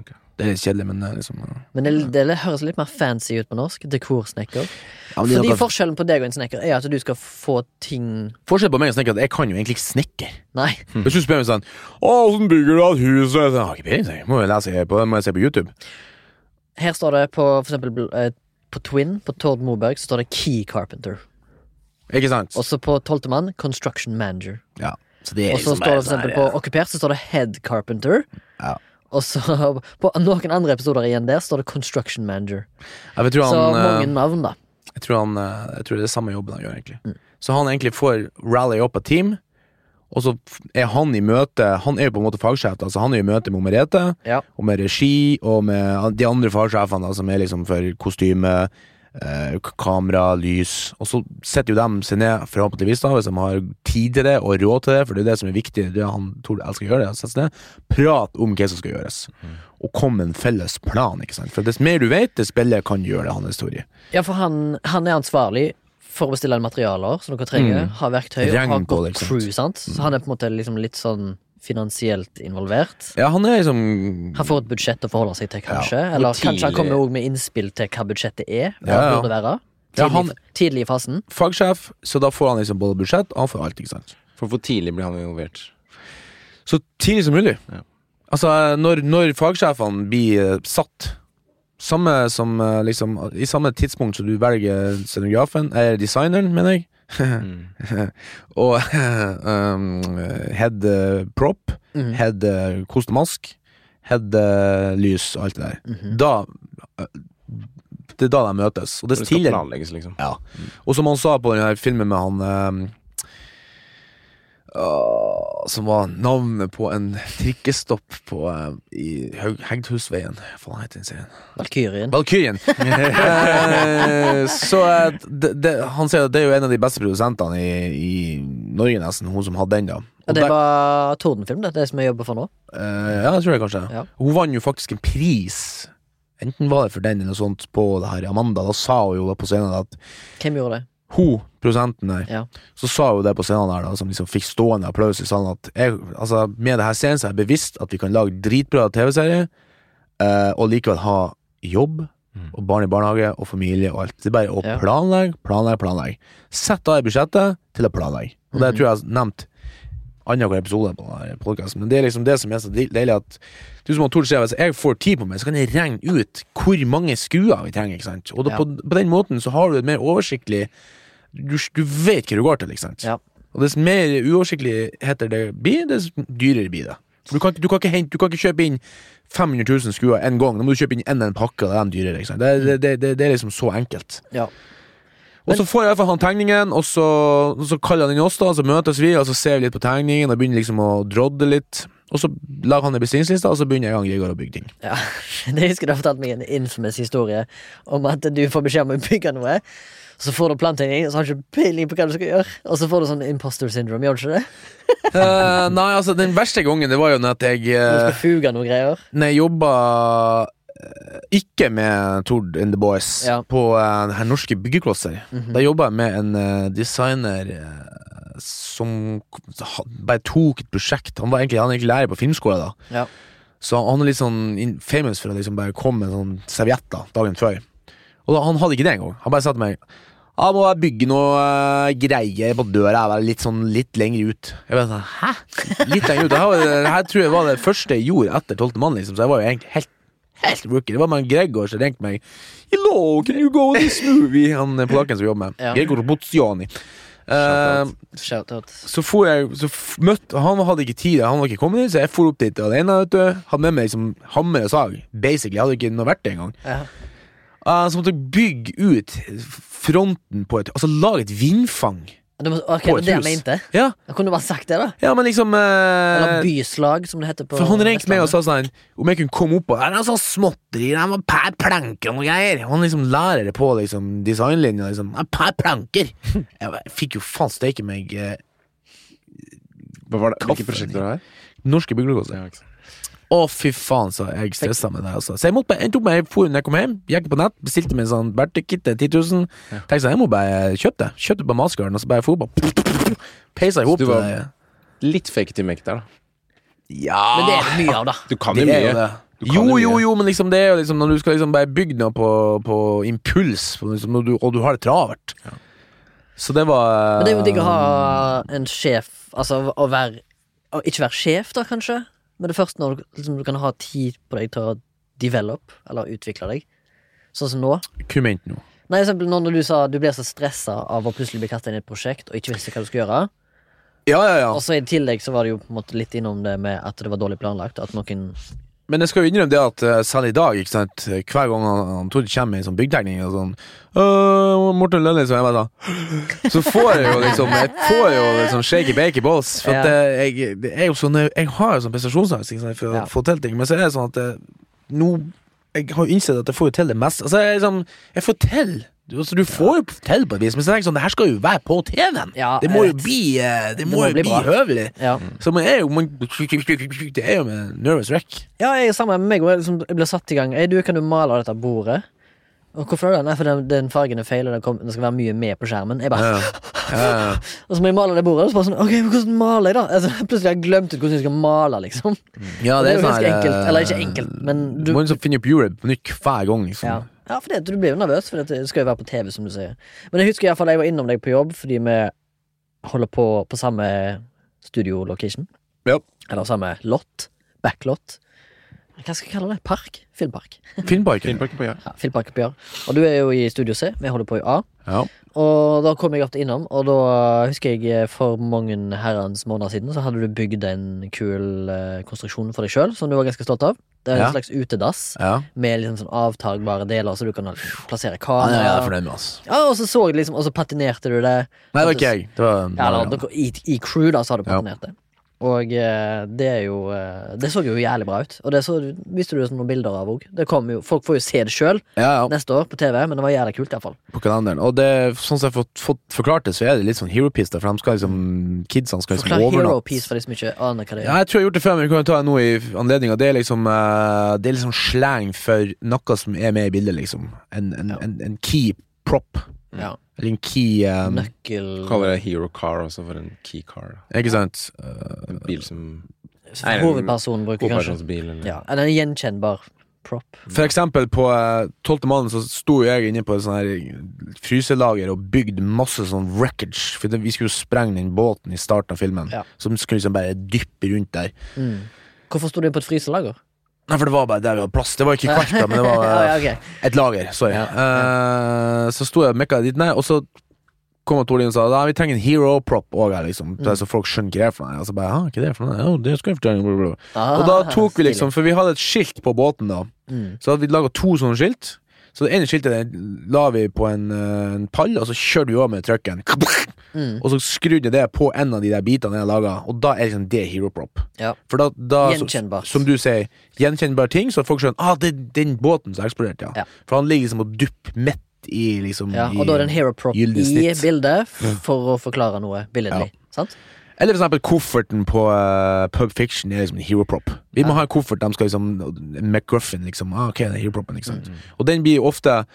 Ok. Det er litt kjedelig, men det er liksom ja. Men det, det høres litt mer fancy ut på norsk. Dekorsnekker. Ja, men det er Fordi noe- forskjellen på deg og en snekker er at du skal få ting Forskjell på meg og snekker er at jeg kan jo egentlig ikke snekker. Nei. Hvis du spør meg sånn Å, hvordan bygger du et hus? Og jeg sånn, «Jeg har ikke peiling, jeg må jo lese på det, må jeg se på YouTube. Her står det på for eksempel bl- eh, på Twin, på Tord Moberg, så står det Key Carpenter. Ikke sant? Også på Tolvtemann, Construction Manager. Ja. Så det er Og så står liksom det bare for sånn her, eksempel på Okkupert, så står det Head Carpenter. Ja. Og så på noen andre episoder igjen der står det Construction Manager. ja. jeg, tror Så han, eh, mange navn, da. jeg, tror han, eh, jeg tror det er samme jobben han gjør, egentlig. Hmm. Så han egentlig får rally opp et team, og så f- er han i møte Han er jo på en måte fagsjef, da, så han er i møte med Merete. Ja. og med regi og med an- de andre fagsjefene da, som er liksom for kostyme, eh, k- kamera, lys. Og så setter jo dem seg ned, forhåpentligvis, da, hvis de har tid til det og råd til det, for det er det som er viktig. Det er han Tord elsker å gjøre, det, å sette seg ned. Prat om hva som skal gjøres, og kom med en felles plan. ikke sant? For dess mer du vet, dess bedre kan du gjøre det, hans historie. Ja, for han, han er ansvarlig for å bestille inn materialer som dere trenger, ha verktøy og ha Mm. Regn på det, godt ikke sant? crew, sant. Så han er på en måte liksom litt sånn finansielt involvert. Ja, han er liksom Han får et budsjett å forholde seg til, kanskje. Ja, og Eller kanskje han tidlig- kommer også med innspill til hva budsjettet er. Hva Ja, det ja. burde være. Tidlig, Ja, han- tidlig i fasen. fagsjef, så da får han liksom både budsjett, og han får alt, ikke sant. For hvor tidlig ble han involvert? Så tidlig som mulig. Ja. Altså, når, når fagsjefene blir eh, satt samme som, eh, liksom, I samme tidspunkt som du velger scenografen, eller designeren, mener jeg, Mm. og um, head eh, prop, Mm. head eh, kostemask, head eh, lys og alt det der. Mhm. Da eh, Det er da de møtes. Og Det dess skal tidligere planlegges, liksom. ja. Og som han sa på den her filmen med han ehm, ah, Som var navnet på en trikkestopp på eh, i Haug- Hegdhusveien. Hva faen heter den serien? Valkyrien. Valkyrien! Eh, så eh, det, det, han sier at det er jo en av de beste produsentene i, i Norge, nesten. Hun som hadde den, da. Ja, Og det der- var Tordenfilm, det, det som jeg jobber for nå. eh, ja, jeg tror det kanskje. Ja. Hun vant jo faktisk en pris. Enten var det for den eller noe sånt på det her Amanda. Da sa hun jo da på scenen at Hvem gjorde det? hun, produsenten der, Ja. så sa jo det på scenen der, da, som liksom fikk stående applaus i salen, at jeg, altså, med det her scenen så er jeg bevisst at vi kan lage dritbra TV-serier, eh, og likevel ha jobb, og barn i barnehage, og familie og alt. Det er bare å Ja. planlegge, planlegge, planlegge. Sett av i budsjettet til å planlegge. Og Mhm. det tror jeg jeg har nevnt annenhver episode på denne podcasten, men det er liksom det som er så deil- deilig at du som har Tord sier, hvis jeg får tid på meg, så kan jeg regne ut hvor mange skuer vi trenger, ikke sant? Og da, Ja. på, på den måten så har du et mer oversiktlig du, du vet hva du går til, ikke sant? Ja. Og dess mer uoversiktligheter det blir, dess dyrere blir det. For du kan, ikke- du, kan ikke hente, du kan ikke kjøpe inn 500 000 skuer en gang. Da må du kjøpe inn en, en pakke, og det er de dyrere. Ikke sant? Det, det, det, det, det er liksom så enkelt. Ja. Og så får jeg i hvert fall han tegningen, og så, og så kaller han inn oss, da, og så møtes vi, og så ser vi litt på tegningen, og begynner liksom å drodde litt. Og så lager han en bestillingsliste, og så begynner jeg og Gregor å bygge ting. Ja, det husker du har fortalt meg en infamous historie om at du får beskjed om å bygge noe. Så får du plantegning, og så har du ikke peiling på hva du skal gjøre. Og så får du sånn imposter syndrome, gjør du ikke det? Eh, nei, altså, den verste gangen, det var jo når at jeg Du eh, skal fuge noe greier. Når jeg jobba eh, ikke med Tord and the Boys Ja. på eh, det her norske byggeklosser. Da jobba jeg med en eh, designer eh, som k- ha- bare tok et prosjekt. Han var egentlig, han er egentlig lærer på filmskolen, da. Ja. så han er litt sånn in- famous for å liksom bare komme med sånn servietter dagen før. Og da, han hadde ikke det engang. Han bare sa til meg Ja, må jeg bygge noe eh, greier på døra her, litt sånn litt lenger ut. Jeg bare sånn, hæ? Litt lenger ut? Det her, var- det her tror jeg var det første jeg gjorde etter 12. mann, liksom, så jeg var jo egentlig helt, helt rookie. Det var med Gregor som ringte meg. Hello, can you go on this movie? Han eh, polakken som jobber med. Ja. Gregor Boziani. Eh, Shoutout. så for jeg, så f møtte, han hadde ikke tid, han var ikke kommet inn, så jeg for opp dit alene, vet du. Hadde med meg liksom hammer og sag, basically. Jeg hadde ikke noe verktøy engang. Ja. Eh, så måtte jeg bygge ut fronten på et Altså lage et vindfang. Du må, ok, På det et er det jeg hus. mente. Ja, Jeg kunne bare sagt det, da. ja men liksom Eller eh, byslag, som det heter på For han ringte meg og Vestlandet. sa sånn om jeg kunne komme opp og Det er sånn småtteri, det er per planker og noe greier. Han liksom lærer det på liksom designlinja, liksom. «Ja, Per planker. Jeg bare, fikk jo faen steike meg eh, Hva var det? Kaffe. Hvilke liksom. prosjekter har du her? norske byggelåser. Ja, ikke sant. Å, fy faen, så jeg stressa med det. Altså. Så jeg måtte bare, endte opp med jeg for når jeg kom hjem, gikk på nett, bestilte meg en sånn verktøykit til 10 000. Tenkte sånn, jeg må bare kjøpe det. Kjøpte på Maskaren, og så bare for bare Peisa i Så hop. du var- det. Litt fake to make der, da. Ja Men det er det mye av, da. Du kan det jo er jo mye. det. Du kan Jo, jo mye. jo, jo, men liksom det er jo liksom når du skal liksom bare bygge noe på, på impuls, på liksom, når du, og du har det travelt. Så det var Men det er jo digg å ha en sjef, altså å være å Ikke være sjef, da, kanskje, men det er først når du, liksom, du kan ha tid på deg til å develop, eller utvikle deg. Sånn som nå. Kumment nå. Nei, for eksempel nå når du sa du blir så stressa av å plutselig bli kasta inn i et prosjekt og ikke visste hva du skulle gjøre. Ja, ja, ja. Og så i tillegg så var det jo på en måte litt innom det med at det var dårlig planlagt. At noen Men jeg skal jo innrømme det at eh, selv i dag, ikke sant hver gang han, han Tord kommer med en sånn byggtegning og sånn «Øh, Morten Lønning, så jeg bare sånn Så får jeg jo liksom Jeg får jo liksom shaky baky balls. For at Ja. eh, jeg, det er jo sånn Jeg har jo sånn prestasjonsangst ikke sant, for Ja. å få til ting, men så er det sånn at eh, nå Jeg har jo innsett at jeg får jo til det meste. Altså, jeg, liksom, jeg får til. Du- Altså, du får jo til på et vis, men så tenker jeg sånn, det her skal jo være på TV-en. Ja, det må jeg jo vet. bli, eh, det Det må må jo bli bli, bra. høvelig. Ja, Så man er jo man, Det er jo med nervous wreck. ja jeg er sammen med meg, og jeg, liksom, jeg ble satt i gang. Ei, du, kan du male dette bordet? Og hvorfor det? Nei, for den, den fargen er feil, og det, kom, det skal være mye med på skjermen. Jeg bare, Ja. Ja. Og så må jeg male det bordet, og så bare sånn Ok, men hvordan maler jeg, da? Altså, plutselig har jeg glemt ut hvordan jeg skal male, liksom. Ja, det er jo sånn her, ganske enkelt. eh, Eller ikke enkelt, men du Du må liksom finne opp hjulet på nytt hver gang. Liksom. Ja, ja for det, du blir jo nervøs, for det skal jo være på TV, som du sier. Men jeg husker i hvert fall jeg var innom deg på jobb, fordi vi holder på på samme studio-location. Ja. Eller samme lot. Backlot. Hva skal jeg kalle det? Park? Filmpark. Finnparken. Filmparken på Gjøa. Ja, Filmpark på Jør. Og du er jo i Studio C, vi holder på i A. Ja. Og da kom jeg ofte innom, og da husker jeg eh, for mange herrens måneder siden så hadde du bygd en kul eh, konstruksjon for deg sjøl, som du var ganske stolt av. Det er en Ja. slags utedass Ja. med liksom sånn avtagbare deler, så du kan liksom plassere Han er jeg kamera. fornøyd med, altså. Ja, og så så jeg liksom, og så patinerte du det. Nei, det var ikke jeg. Det var Ja, eller, dere, i, I crew, da, så har du Ja. patinert det. Og eh, det er jo eh, Det så jo jævlig bra ut. Og det så, viste du noen bilder av òg. Folk får jo se det sjøl ja, ja, neste år på TV, men det var jævlig kult, iallfall. på kalenderen. Og det, sånn som jeg har fått, fått forklart det, så er det litt sånn hero piece, da, for de skal liksom, kidsene skal liksom Forklar Hero overnatte. Piece for de som ikke aner hva det Ja, er. jeg tror jeg har gjort det før, men vi kan jo ta det nå i anledning av det. Er liksom, eh, det er liksom slang for noe som er med i bildet, liksom. En, en, en, en key prop. Ja. Eller en key eh, Nøkkel Kaller det hero car også for en key car. da. Ikke sant? Eh, En bil som Nei, en Hovedpersonen bruker kanskje Hovedpersonsbil. eller- ja, Eller en gjenkjennbar prop. For eksempel på eh, tolvte mannen så sto jo jeg inne på et sånn her fryselager og bygde masse sånn wreckage. For det, vi skulle jo sprenge den båten i starten av filmen, Ja. som skulle liksom bare dyppe rundt der. Mm. Hvorfor sto det på et fryselager? Nei, for det var bare der vi hadde plass. Det var ikke kvart, da, men det var eh, ja, ja, ok. et lager. Sorry. Ja, Eh, så sto jeg og mekka dit ned, og så kom Tord inn og sa Nei, vi trenger en hero prop òg her, liksom. Mm. Så folk skjønner hva det er for noe. Og så bare, «Hæ, hva er det for noe? Jo, det skal jeg fortelle. Blablabla. Og da Ah, tok vi stilig. liksom, for vi hadde et skilt på båten da Mm. Så hadde vi laget to sånne skilt Så det ene skiltet det la vi på en, eh, en pall Og så kjørte vi over med trøkken Mm. Og så skrudde jeg det på en av de der bitene jeg laget Og da er liksom det hero prop Ja. For da, da så- Gjenkjennbart. Som du sier, gjenkjennbare ting Så at folk skjønner, ah, det er den båten som eksploderte ja. Ja. For han ligger liksom og dupp mett i liksom Ja, i- og da er det en hero prop i gyldig snitt. bildet f- for å forklare noe billedlig. Sant? Eller for eksempel kofferten på eh, Pulp Fiction er liksom en hero prop. Vi må ha en koffert, de skal liksom en McGuffin, liksom. Ah, ok, det er hero propen, ikke sant. Og den blir ofte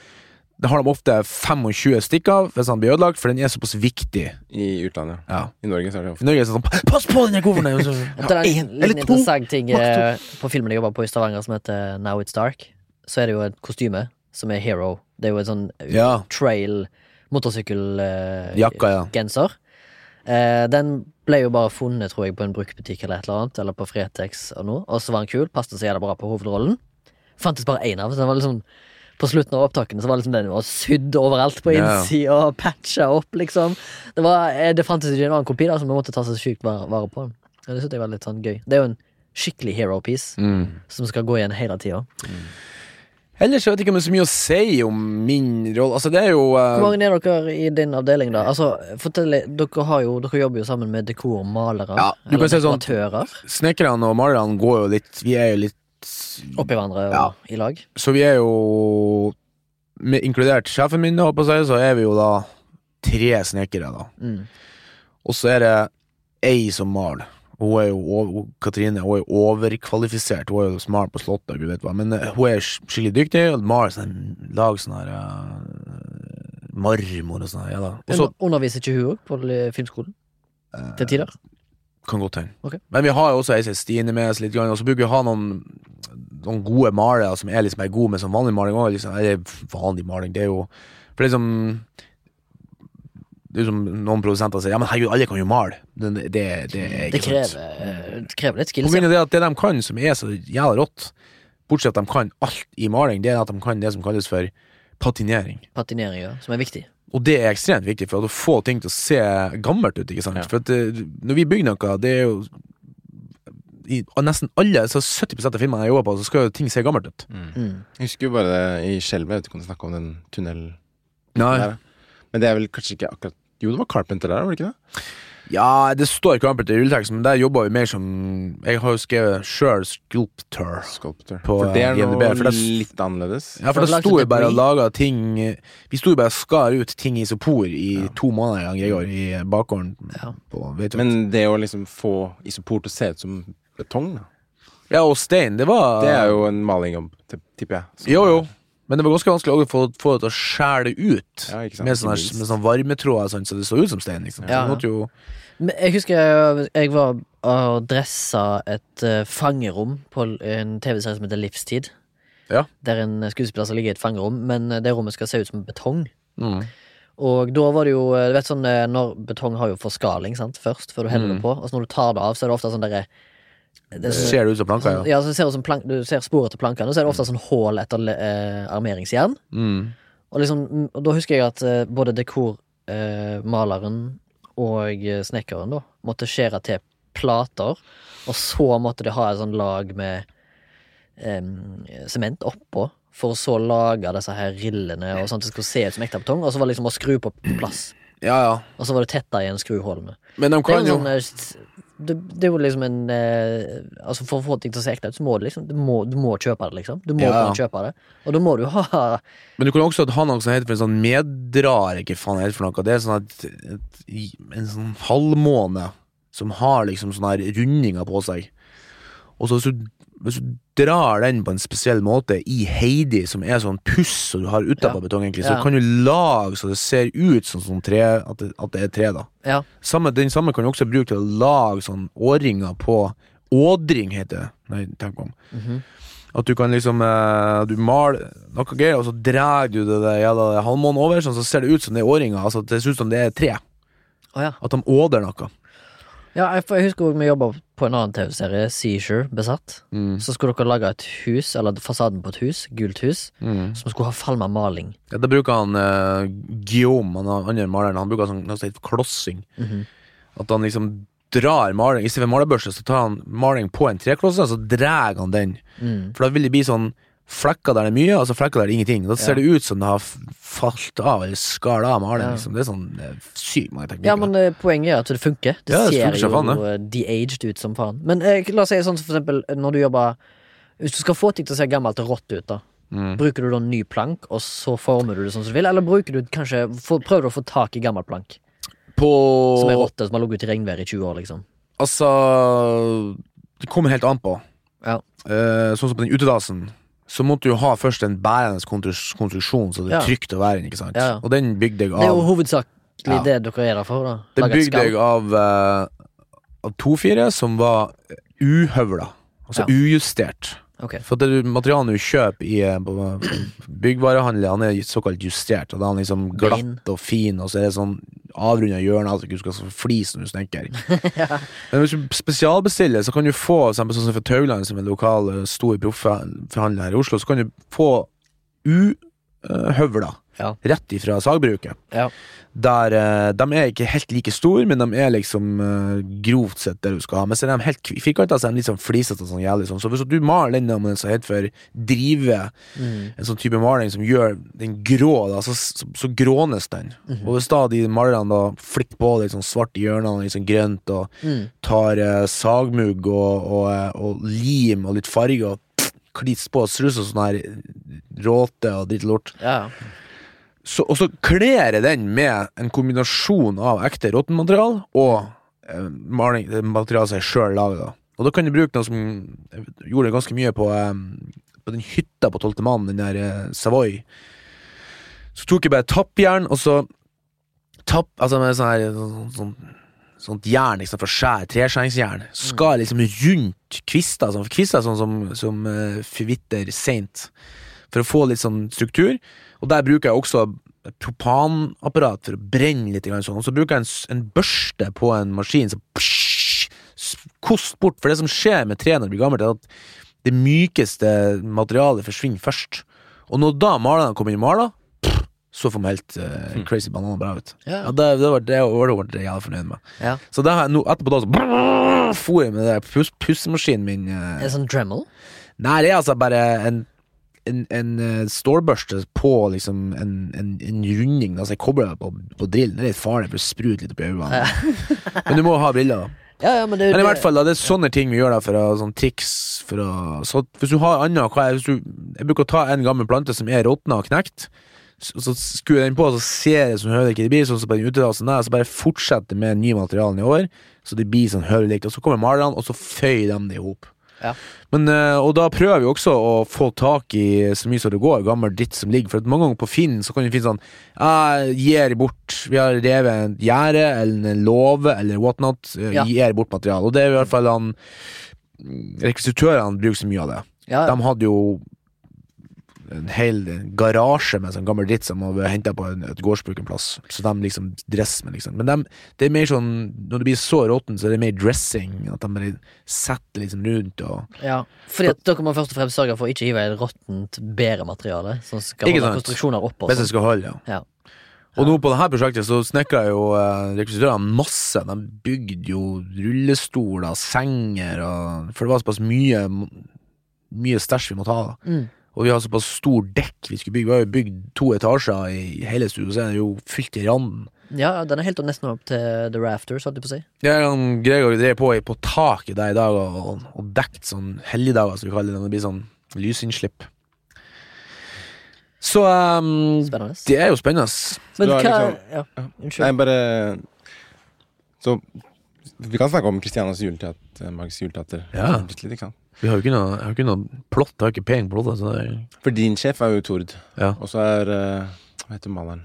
Det har de ofte 25 stikk av hvis den blir ødelagt, for den er såpass viktig. I utlandet. Ja. I Norge så er det I ofte Norge er det sånn Pass på den her kofferten! her!» Og så- Det er en en liten eller to. interessant ting maks to. eh, på filmen jeg jobber på i Stavanger, som heter Now It's Dark. Så er det jo et kostyme som er hero. Det er jo et sånn Ja. trail motorsykkelgenser. Jakka, ja. Eh, den ble jo bare funnet, tror jeg, på en bruktbutikk eller et eller annet, eller på Fretex og noe, og så var den kul, passet så jævla bra på hovedrollen. Fantes bare én av, så den var liksom på slutten av opptakene så var liksom den var sydd overalt på Ja. innsida og patcha opp, liksom. Det, var, eh, det fantes ikke en annen kopi, da, som vi måtte ta så sykt vare vare på. Ja, Det synes jeg var litt sånn gøy. Det er jo en skikkelig hero piece, Mm. som skal gå igjen hele tida. Ellers jeg vet jeg ikke om det er så mye å si om min rolle. Altså, det er jo eh, Hvor mange er dere i din avdeling, da? Altså, fortell, dere, har jo, dere jobber jo sammen med dekormalere. Ja, du kan eller si det sånn. dekoratører. Snekkerne og malerne går jo litt Vi er jo litt Oppi hverandre og, Ja. i lag. Så vi er jo med, Inkludert sjefen min, holdt på å si, så er vi jo da tre snekkere, da. Mm. Og så er det ei som maler. Hun er jo ov- hun- Katrine hun er jo overkvalifisert. Hun er jo smal på slottet, og gud vet hva. Men eh, hun er sk- skikkelig dyktig. Og maler sånn lag sånn her eh, marmor og sånn. her, Ja, da. Og så Eh, Under, underviser ikke hun òg på li- filmskolen? Til tider? kan godt hende. Ok. Men vi har jo også ei som heter Stine med oss litt, grann, og så bruker vi å ha noen Noen gode malere som er liksom er gode med sånn vanlig maling òg. Liksom, eller vanlig maling, det er jo For det er som det er som noen produsenter sier Ja, men herregud, alle kan jo male. Det, det, det, er Det ikke sant. krever, eh, det krever litt På skills. grunn av det at det de kan som er så jævla rått, bortsett fra at de kan alt i maling, det er at de kan det som kalles for patinering. ja. Patinering, ja, som er viktig. Og det er ekstremt viktig for at å få ting til å se gammelt ut, ikke sant. For at eh, når vi bygger noe, det er jo i og nesten alle, så 70 av filmene jeg jobber på, så skal jo ting se gammelt ut. Mm. Jeg husker jo bare det i Skjelvet, jeg vet ikke om du snakket om den tunnelen der. Men det er vel kanskje ikke akkurat Jo, det var Carpenter der, var det ikke det? Ja, det står Crumpet i rulleteksten, men der jobber vi mer som Jeg har jo skrevet sjøl sculptor. Sculptor. På, for det er eh, noe IMDb, for det er- litt annerledes. Ja, for For da å lage sto vi debris. bare og laga ting Vi sto jo bare og skar ut ting i isopor i to måneder i gang, Gregor, i bakgården. Ja. På, vet du. Men det å liksom få isopor til å se ut som betong, da. ja, og stein, det var Det er jo en malingjobb, t- tipper jeg. Så- Jo, jo. Men det var ganske vanskelig å få, få det til å skjære det ut Ja, ikke sant, med sånne, ikke minst. med sånne varmetråder, sånn, så det så ut som stein. Liksom. Ja, Så ja. måtte jo, Men Jeg husker jeg, jeg var og dressa et eh, fangerom på l- en TV-serie som heter Livstid. Ja. Der en skuespiller som ligger i et fangerom, men eh, det rommet skal se ut som betong. Mm. Og da var det jo eh, du vet sånn, eh, når Betong har jo forskaling sant, først, før du Mm. heller det på. Og så når du tar det av, så er det ofte sånn derre det det er sånn- ser det ut som planker, sånn- ja. ja, så ser du, som plank, du ser sporet til plankene, og så er det ofte sånn hull etter le- eh, armeringsjern. Mm. Og, liksom, mm, og da husker jeg at eh, både dekormaleren eh, maleren og eh, snekkeren da, måtte skjære til plater, og så måtte de ha et sånn lag med em, sement oppå, for å så lage disse her rillene, og sånn at det skulle se ut som ekte betong, og så var det liksom å skru på plass. ja, ja. Og så var det tetta igjen skruhullene. Men de Det er kan jo jo en sånn eh, s- det, det er jo liksom en eh, Altså For å få ting til å se ekte ut, så må du liksom Du må, du må kjøpe det, liksom. Du må Ja. kunne kjøpe det. Og da må du ha Men du kan også ha noe som heter for en sånn meddrager, ikke faen heter for noe. Det er sånn at et, en sånn halvmåne som har liksom sånne her rundinger på seg. Og så hvis du, hvis du drar den på en spesiell måte i Heidi, som er sånn puss som du har utapå Ja. betong, egentlig, Ja. så kan du lage så det ser ut som sånn tre, at det, at det er tre, da. Ja. Samme, den samme kan du også bruke til å lage sånn årringer på Ådring heter det. Nei, tenk om. At du kan liksom eh, Du maler noe greier, og så drar du det der jævla halvmånen over, sånn, så ser det ut som det er årringer. Altså, det ser ut som det er tre. Å ja. At de åder noe. Ja, jeg, for jeg husker også vi jobba på en annen TV-serie, Seizure Besatt. Mm. Så skulle dere lage et hus, eller fasaden på et hus, gult hus, Mm. som skulle ha falma maling. Ja, da bruker han eh, Guillaume, han er- andre maleren, han bruker sånn, noe som heter klossing. Mhm. At han liksom drar maling I stedet for malerbørste, så tar han maling på en treklosse, og så drar han den. Mm. For da vil det bli sånn flekker der det er mye, og så flekker der det er ingenting. Da ser det ut som det har f- falt av, eller skala av maling. Ja. Liksom. Det er sånn det er sykt mange teknikker. Ja, men eh, poenget er at det funker. Det, Ja, det ser funker jo som faen, det. eh, de-aged ut som faen. Men eh, la oss si sånn som for eksempel eh, når du jobber Hvis du skal få ting til å se gammelt og rått ut, da. Mm. Bruker du da ny plank, og så former du det sånn som du vil? Eller bruker du kanskje for, prøver du å få tak i gammel plank, på som er rått, og som har ligget ute i regnvær i 20 år, liksom? Altså Det kommer helt an på. Ja. Eh, sånn som på den utedassen. Så måtte du jo ha først en bærende kontrus- konstruksjon, så det er Ja. trygt å være i. ikke sant? Ja, ja. Og den bygde jeg Det er jo av hovedsakelig Ja. det dere er der for, da. Den Lage et bygde skall. jeg av, eh, av 2-4, som var uhøvla. Altså Ja. ujustert. Ok. For det du- materialet du kjøper i eh, på- på byggvarehandel, han er ju- såkalt justert. Og da er han liksom Rein. glatt og fin, og så er det sånn avrunda hjørne, altså ikke du skal få flis når du snekker. Men hvis du spesialbestiller, så kan du få, for eksempel sånn som for Tauland, som er en lokal eh, stor proffforhandler her i Oslo, så kan du få uhøvla Ja. rett ifra sagbruket. Ja. Der eh, De er ikke helt like store, men de er liksom eh, grovt sett det du skal ha. Men så er de helt firkanta, så er de litt sånn flisete og sånn jævlig sånn. Så hvis du maler den med en som heter for drive, Mm. en sånn type maling som gjør den grå, da, så, så, så grånes den. Mhm. Og hvis da de malerne da flikker på litt sånn svart i hjørnene, litt sånn grønt, og Mm. tar eh, sagmugg og, og, eh, og lim og litt farge og klits på og strus og sånn her råte og dritt lort Ja. så, og så kler jeg den med en kombinasjon av ekte råttenmaterial og eh, maling, det materialet som jeg sjøl lager. da. Og da kan du bruke noe som jeg gjorde ganske mye på, eh, på den hytta på Tolvte mann, den der eh, Savoy. Så tok jeg bare tappjern, og så tapp, altså med sånn her sånn, sånn, Sånt jern liksom fra skjær, treskjæringsjern. Skar liksom rundt kvister, sånn, for kvister er sånn som, som eh, forvitrer seint. For å få litt sånn struktur. Og der bruker jeg også et propanapparat for å brenne litt. grann Sånn. Og så bruker jeg en, s- en børste på en maskin som psh, s- kost bort. For det som skjer med tre når det blir gammelt, er at det mykeste materialet forsvinner først. Og når da malerne kommer inn i maler, pff, så får man helt eh, crazy bananer bra ut. Hm. Ja. Ja, det, det var det var det jeg var fornøyd med. ja. Så det har jeg nå, etterpå da så brrr, for jeg med det der pus, pussemaskinen min. eh, En sånn Dremel? Nei, det er altså bare en en, en eh, stålbørste på liksom en, en, en runding. da, så jeg kobler det på, på drillen. Det er litt farlig, for det spruter litt oppi øynene. Men du må ha briller. da. Ja, ja, men det er Men jo i det- hvert fall, da, det er sånne ting vi gjør da, for å, sånn triks for å så Hvis du har annet hva er, hvis du, Jeg bruker å ta en gammel plante som er råtna og knekt, så, så skrur jeg den på, og så ser jeg som hører ikke det blir, sånn som på den utedassen der, så bare fortsetter med nye materialene i år, så det blir sånn høvelig likt. Og så kommer malerne, og så føyer de det i hop. Ja. Men, eh, og da prøver vi også å få tak i så mye som det går, gammel dritt som ligger. For at mange ganger på Finn så kan du finne sånn Jeg gir bort Vi har revet en gjerde eller en låve eller whatnot. eh, Ja. Gir bort materiale. Og det er i hvert fall han Rekvisitørene bruker så mye av det. Ja, ja. De hadde jo en hel garasje med sånn gammel dritt som var henta på en, et gårdsbruk en plass. Så de liksom dresser med, liksom. Men dem- det er mer sånn Når det blir så råttent, så er det mer dressing. At de bare setter liksom rundt og ja. Fordi at dere må først og fremst sørge for å ikke hive i råttent, bedre materiale. sånn Som skal Ikke holde sant. konstruksjoner oppe. og Hvis sånn. jeg skal holde, ja. Ja. Og nå på dette prosjektet så snekra jo eh, rekvisitørene masse. De bygde jo rullestoler, senger og For det var såpass mye Mye stæsj vi måtte ha. da. Mm. Og vi har såpass stor dekk vi skulle bygge. Vi har jo bygd to etasjer i hele studioet, så er det jo fylt i randen. Ja, ja, den er helt opp- nesten opp til The Rafters, holdt jeg på å si. Jeg og Gregor drev på i- på taket der i dag og, og, og dekt sånn helligdager, som vi kaller det. når Det blir sånn lysinnslipp. Så eh, Spennende. det er jo spennende. Men Du hva har liksom- ja. Unnskyld. Nei, bare Så vi kan snakke om Christianas juleteater, Mags juleteater. Ja. Litt, litt, ikke sant? Vi har jo ikke noe, jeg har ikke noe plott, jeg har ikke pen plott. Altså. det er- For din sjef er jo Tord. Ja. Og så er eh, Hva heter maleren?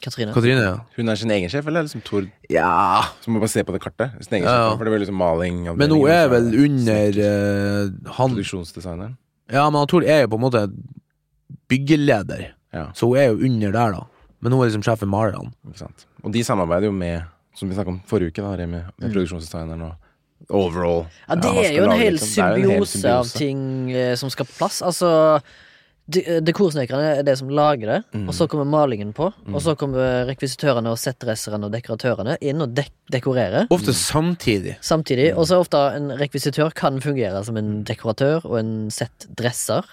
Katrine. Katrine, ja. Hun er sin egen sjef, eller er det liksom Tord? ja. Så må man bare se på det kartet. Sin egen Ja, ja. sjef, for det blir liksom maling Men hun er vel under eh, han Produksjonsdesigneren. Ja, men han Tor er jo på en måte byggeleder, Ja, så hun er jo under der, da. Men hun er liksom sjef for malerne. ikke sant. Og de samarbeider jo med, som vi snakket om forrige uke, da, Remi, med produksjonsdesigneren og overall. Mm. Ja, det Ja, man er skal jo en lage hel liksom- det er jo en hel symbiose av symbiose. ting eh, som skal på plass. Altså de- eh, Dekorsnekerne er det som lager det, Mm. og så kommer malingen på. Og så kommer rekvisitørene og settdresserne og dekoratørene inn og dek dekorerer. Ofte samtidig. Samtidig, og så ofte en rekvisitør kan fungere som en dekoratør og en settdresser.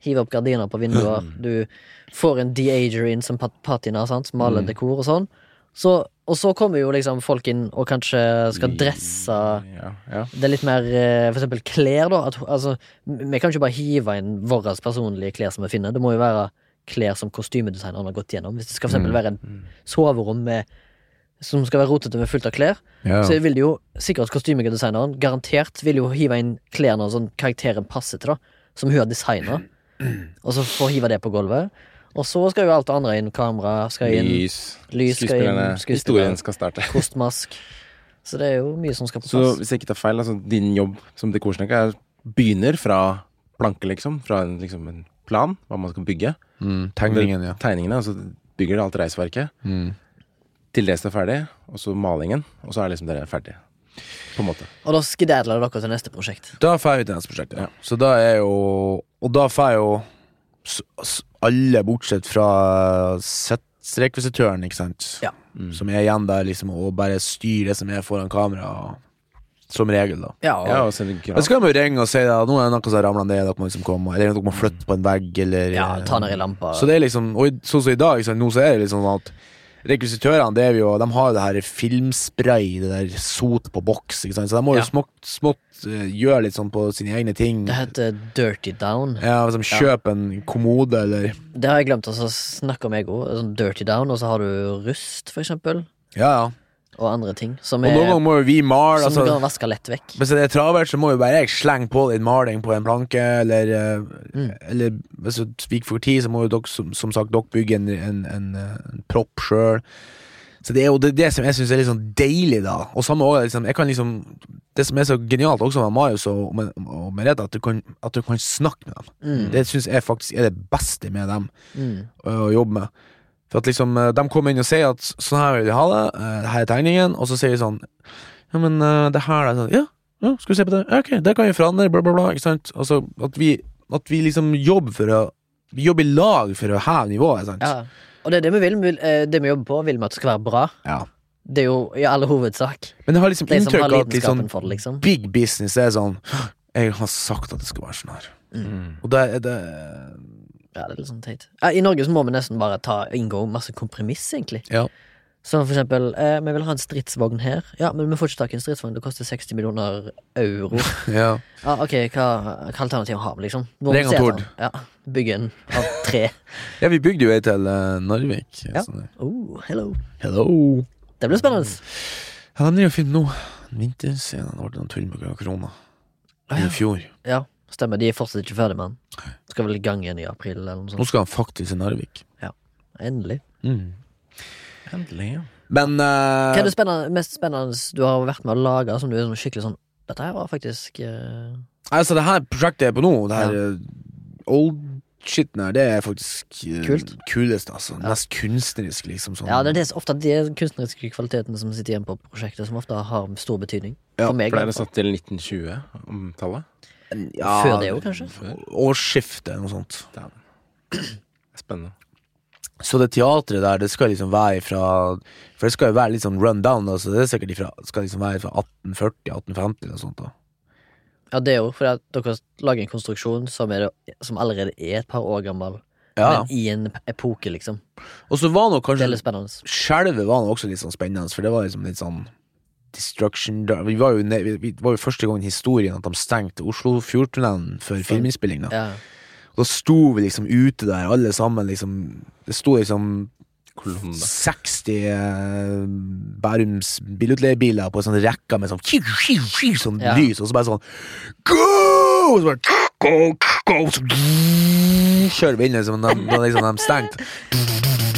Hive opp gardiner på vinduer. Du får en de-ager inn som pat- patina, sant? maler dekor og sånn. Så, og så kommer jo liksom folk inn og kanskje skal dresse Ja, ja. det er litt mer eh, for eksempel klær, da. At, altså, vi kan ikke bare hive inn våre personlige klær som vi finner. Det må jo være klær som kostymedesigneren har gått gjennom. Hvis det skal for Mm. eksempel være en soverom med, som skal være rotete med fullt av klær, så vil det jo sikkert kostymedesigneren garantert vil jo hive inn klærne sånn karakteren passer til, da. Som hun har designa. Og så får hive det på gulvet. Og så skal jo alt det andre inn. Kamera skal inn. Lys, lys skal inn, skuespillerne, skuespillere. historien skal starte. Kostmask. Så det er jo mye som skal på Så plass. hvis jeg ikke tar feil, altså din jobb som dekorsnekker er- begynner fra planke, liksom, fra en, liksom, en plan, hva man skal bygge. Mm, tegningen, ja. Tegningene, og så bygger det alt reisverket. Mm. Til det som er ferdig, og så malingen, og så er liksom dere ferdig. På en måte. Og da skedadler dere til neste prosjekt. Da får vi til neste prosjekt, ja. Så da er jo Og da får jo s- s- alle bortsett fra set- rekvisitøren, ikke sant, Mm. Ja. som er igjen der, liksom, og bare styrer det som er foran kamera, og- som regel, da. Ja, og, Ja, og så er det graf. Men så kan man jo ringe og si at nå er det noe som ramler ned, dere må liksom komme, eller dere må flytte på en vegg, eller ja, ta ned i lampa. så det er liksom, og i- sånn som i dag, ikke sant, nå så er det liksom sånn at rekvisitørene, det er jo, de har jo det her filmspray, det der sot på boks, ikke sant, så de må jo Ja. smått, smått eh, gjøre litt sånn på sine egne ting. det heter Dirty Down. Ja, hvis de kjøper en kommode, eller Det har jeg glemt å snakke om, jeg òg. Sånn Dirty Down, og så har du rust, for eksempel. Ja, ja. Og andre ting som Og er noen ganger må jo vi male, Som du altså. kan vaske lett vekk. Hvis det er travelt, så må jo bare jeg slenge på litt maling på en planke, eller, eh, eller hvis du spiker for tid, så må jo dere, som, som sagt, dere bygge en, en, en, eh, en propp sjøl. Så det er jo det, det som jeg syns er litt sånn deilig, da. Og samme også, liksom, jeg kan liksom Det som er så genialt også med Marius og, og, med- og Merete, at du kan, at du kan snakke med dem. Det syns jeg faktisk er det beste med dem Mm. eh, å å jobbe med. For at liksom, eh, De kommer inn og sier at sånn her vil vi ha det, eh, her er tegningen, og så sier vi sånn Ja, men eh, det her er sånn Ja, ja skal vi se på det? Ja, ok, det kan vi forandre, bla, bla, bla. Ikke sant? Altså, at vi, at vi liksom jobber for å Vi jobber i lag for å heve nivået, sant? Ja. Og det er det vi vil. vi vil- eh, Det vi jobber på, vil vi at det skal være bra. Ja. Det er jo i all hovedsak Men jeg har liksom de som inntrykk har av at liksom, lidenskapen for det, liksom. big business er sånn «Hå, Jeg har sagt at det skal være sånn her. Mm. Og det er det Ja, det er litt sånn teit. Ja, I Norge så må vi nesten bare ta, inngå masse kompromiss, egentlig. Ja. Som for eksempel, eh, vi vil ha en stridsvogn her. Ja, men vi får ikke tak i en stridsvogn, det koster 60 millioner euro. ja. Ja, ok, hva, hva alternativet har vi, liksom? Må Ring vi se og etter den? Ja, Bygge en av tre. ja, vi bygde jo ei til eh, Narvik. Ja. sånn. Oh, hello. Hello! Det blir spennende. Ja, den er jo film nå. Vinterscenen det ble noen tull med korona. I fjor. Ja, stemmer. De er fortsatt ikke ferdig med den. Skal vel i gang igjen i april, eller noe Nå sånt. skal han faktisk til Narvik. Endelig. Endelig, ja. Men Mm. Hva er eh, det spennende, mest spennende du har vært med å lage, som du er sånn skikkelig sånn Dette her var faktisk eh, altså, det her prosjektet jeg er på nå, det her eh, old shiten her, det er faktisk eh, Kult. kulest, altså. Mest kunstnerisk, liksom. Sånn. Ja, det er det, som- ofte de kunstneriske kvalitetene som sitter igjen på prosjektet, som ofte har stor betydning. Ja, for meg. For i det er hvert fall. satt til 1920-tallet. Ja, Før det jo, kanskje? Årsskiftet, noe sånt. Spennende. Så det teatret der, det skal liksom være fra For det skal jo være litt sånn run down, da, så det er sikkert ifra, skal liksom være fra 1840-1850 eller noe sånt. da Ja, det er jo fordi at dere lager en konstruksjon som, er det, som allerede er et par år gammel, Ja, men i en epoke, liksom. Og så var nok Det kanskje er litt spennende. Skjelvet var nok også litt sånn spennende, for det var liksom litt sånn Destruction Derby. Vi var jo, ned, vi- vi var jo første gang i historien at de stengte Oslofjordtunnelen for filminnspilling. Da. Ja. Og da sto vi liksom ute der, alle sammen. liksom Det sto liksom Mm. Kolonne. 60 eh, Bærums bilutleiebiler på en sånn rekke med sånn, kju, kju, kju, sånn Ja. lys, og så bare sånn Go! Og så bare go, go, så kjører vi inn, liksom. og De, da liksom, de stengte.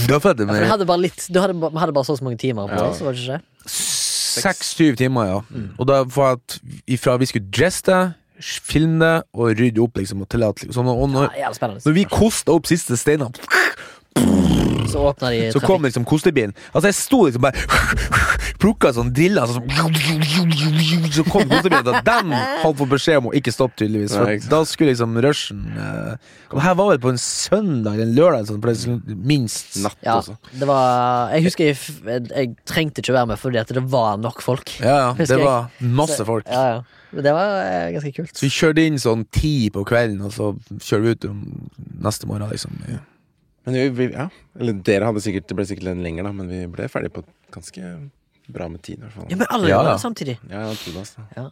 Da følte For jeg det meg hadde bare litt Du hadde, ba- vi hadde bare så og så mange timer på Ja. oss, var det ikke det? Seks-syv timer, ja. Mm. Og da for at ifra vi skulle dresse det, filme det og rydde opp, liksom, og tillate liksom. Og Ja, når, jævlig spennende. når vi kosta opp siste steinene, Så åpna de så kom liksom kostebilen. Altså, jeg sto liksom bare Plukka sånn driller sånn, Så kom kostebilen, og dem hadde fått beskjed om å ikke stoppe, tydeligvis. For Nei, at ikke sant. da skulle liksom rushen eh, Og her var vi på en søndag eller en lørdag, sånn, for det skulle minst Natt Ja, også. det var Jeg husker jeg, f- jeg trengte ikke være med fordi at det var nok folk. Ja, ja. Husker Det jeg. var masse folk. Ja, ja. Men Det var eh, ganske kult. Så vi kjørte inn sånn ti på kvelden, og så kjører vi ut om neste morgen, liksom. Men vi, vi, ja. Eller dere hadde sikkert, det ble sikkert en lenger, da, men vi ble ferdig på ganske bra med tid, i hvert fall. Ja, men alle Ja, gjorde ja. det samtidig. Ja, jeg trodde altså. Ja,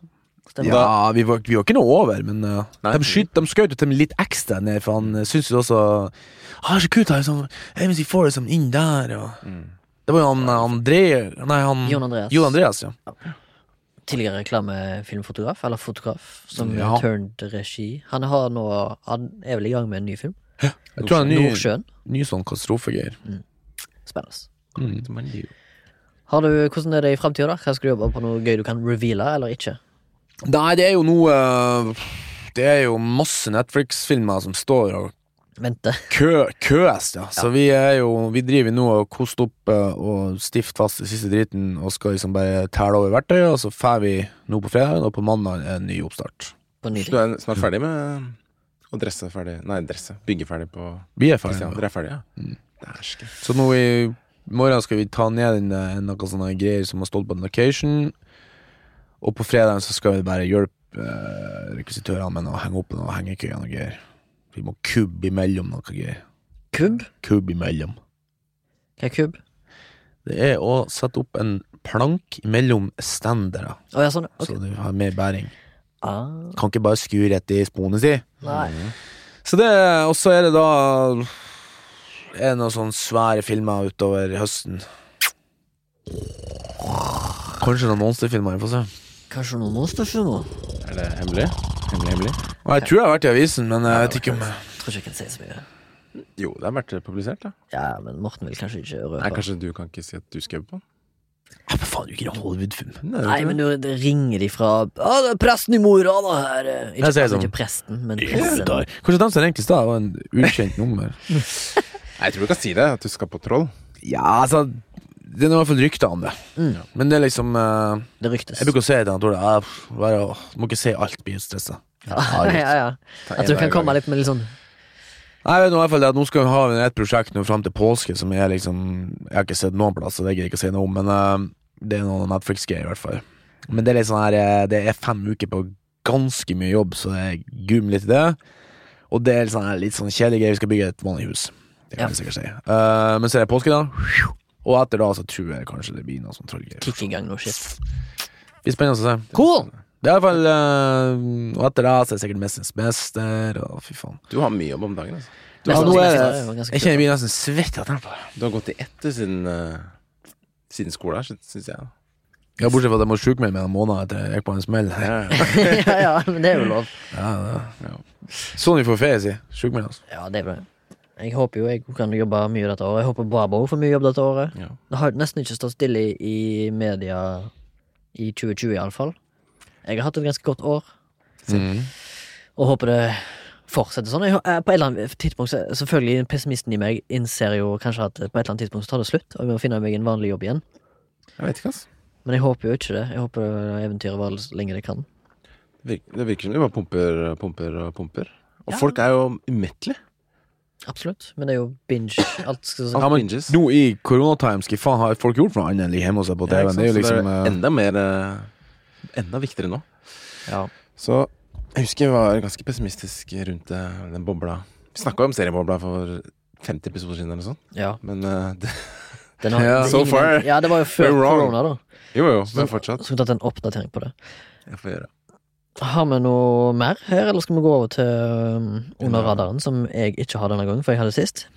stemmer. Ja, vi var, vi var ikke noe over, men uh, Nei. de, skyt, de skjøt jo til meg litt ekstra ned, for han uh, syntes jo også ah, så kult, her, sånn, hey, hvis vi får det sånn inn der, og Det var jo han uh, André Nei, han Jon Andreas. Jon Andreas, ja. Tidligere reklamefilmfotograf, eller fotograf, som Ja. turned regi. Han har nå Han er vel i gang med en ny film? Jeg tror han er ny, Nordsjøen. ny sånn katastrofegreier. Spennende. Mm. Har du, hvordan er det i framtida? Skal du jobbe på noe gøy du kan reveale, eller ikke? Nei, det er jo noe uh, Det er jo masse Netflix-filmer som står og Vente. kø, køes, ja. Så vi er jo Vi driver nå og koster opp eh, og stift fast i siste driten og skal liksom bare tæle over verktøyet, og så drar vi nå på fredag, og på mandag er en ny oppstart. På en ny Så du ting. er snart ferdig med å dresse ferdig Nei, dresse. Bygge ferdig på Vi er ferdige. Kristian. nå. Dere er ferdige, ja? Mm. Dæsken. Så nå i morgen skal vi ta ned en, eh, noen sånne greier som har stått på en location, og på fredag så skal vi bare hjelpe eh, rekvisitørene med å henge opp noen hengekøyer og greier. Vi må kubbe imellom noe greier. Kubb? Kubb imellom. Hva er kubb? Det er å sette opp en plank mellom stendere, Å ja, sånn. ok. så du har mer bæring. Ah, Kan ikke bare skue rett i sporene si. nei. Så det, og så er det da Er det noen sånne svære filmer utover høsten. Kanskje noen monsterfilmer. Vi får se. Kanskje noen monsterfilmer? Er det hemmelig? Hemmelig, hemmelig? Og Jeg tror jeg har vært i avisen, men jeg vet ikke om Tror ikke jeg kan si så mye. Jo, det har vært publisert, da. Ja, men Morten vil kanskje ikke Nei, røpe. kanskje du kan ikke si at du skrev på den? Ja, men faen, det er jo ikke noen Hollywood-film. Nei, men du, det ringer de fra Å, det er presten i Mo i Rana her! eh. Ikke, Jeg sier altså, sånn. ikke presten, men Kanskje pressen. de som ringte i stad, var en ukjent nummer. Nei, jeg tror du kan si det, at du skal på Troll. Ja, altså Det er i hvert fall rykter om det. Men det er liksom eh, Det ryktes. Jeg bruker å si til han Tore «Ja, pff, bare å- Må ikke si alt, blir stressa. Ja, ja, ja. Ta At en du dag kan i komme gangen. litt med litt sånn Nei, jeg vet nå i hvert fall det at nå skal vi ha et prosjekt nå fram til påske som er liksom Jeg har ikke sett noen plass, så det gidder jeg ikke å si noe om, men eh, det er noen Netflix-greier i hvert fall. Men det er litt sånn her eh, Det er fem uker på ganske mye jobb, så jeg gummer litt i det. Og det er litt sånn, her- litt sånn kjedelig greier. Vi skal bygge et vanlig hus. Det kan Ja. jeg sikkert si. Eh, men så er det påske, da. Og etter da så tror jeg kanskje det blir noe sånn trollgreier. kick i gang noe shit. Det blir spennende å se. Cool! Det er i hvert fall eh, Og etter det så er det sikkert Mesternes mester, og fy faen. Du har mye jobb om dagen, altså. Du, Nesten- nå er nesten- det- det var ganske Jeg kult. kjenner jeg blir nesten svett av tempoet. Du har gått i ett du, siden, eh, siden skolen, sy- syns jeg. Ja, bortsett fra at jeg må sjukmelde meg en måned etter jeg gikk på en smell. Ja, ja, ja, men det er jo lov. det er- Sånn vi får ferie, si. Sjukmelde oss. Ja, det er bra. Jeg håper jo jeg kan jobbe mye dette året. Jeg håper Brabo får mye jobb dette året. Ja. Det har nesten ikke stått stille i, i media i 2020, iallfall. Jeg har hatt et ganske godt år, Mm. og håper det fortsetter sånn. Jeg, hå- eh, på et eller annet tidspunkt, så- selvfølgelig Pessimisten i meg innser jo kanskje at på et eller annet tidspunkt så tar det slutt, og jeg må finne meg en vanlig jobb igjen. Jeg vet ikke, altså. Men jeg håper jo ikke det. Jeg håper eventyret varer så lenge det kan. Det virker, det virker som de bare pumper og pumper og pumper. Og folk er jo umettelige. Absolutt. Men det er jo binge. Alt skal Alt Ja, men binges. Nå i koronatimes, hva faen har folk gjort for noe annet enn ligge hjemme og se på Ja, ikke TV-en? sant? Det er jo Så liksom det eh, er enda mer eh, Enda viktigere nå. Ja. Så jeg husker jeg var ganske pessimistisk rundt eh, den bobla. Vi snakka om seriebobla for 50 episoder siden eller noe sånt, ja. men eh, det, Den har, Ja. det er So ingen- far, Ja, det var jo før we're wrong. korona, da. Jo jo, Så- men fortsatt. Skulle tatt en oppdatering på det. Jeg får gjøre Har vi noe mer her, eller skal vi gå over til um, Under Ja. radaren, som jeg ikke har denne gangen, for jeg hadde sist?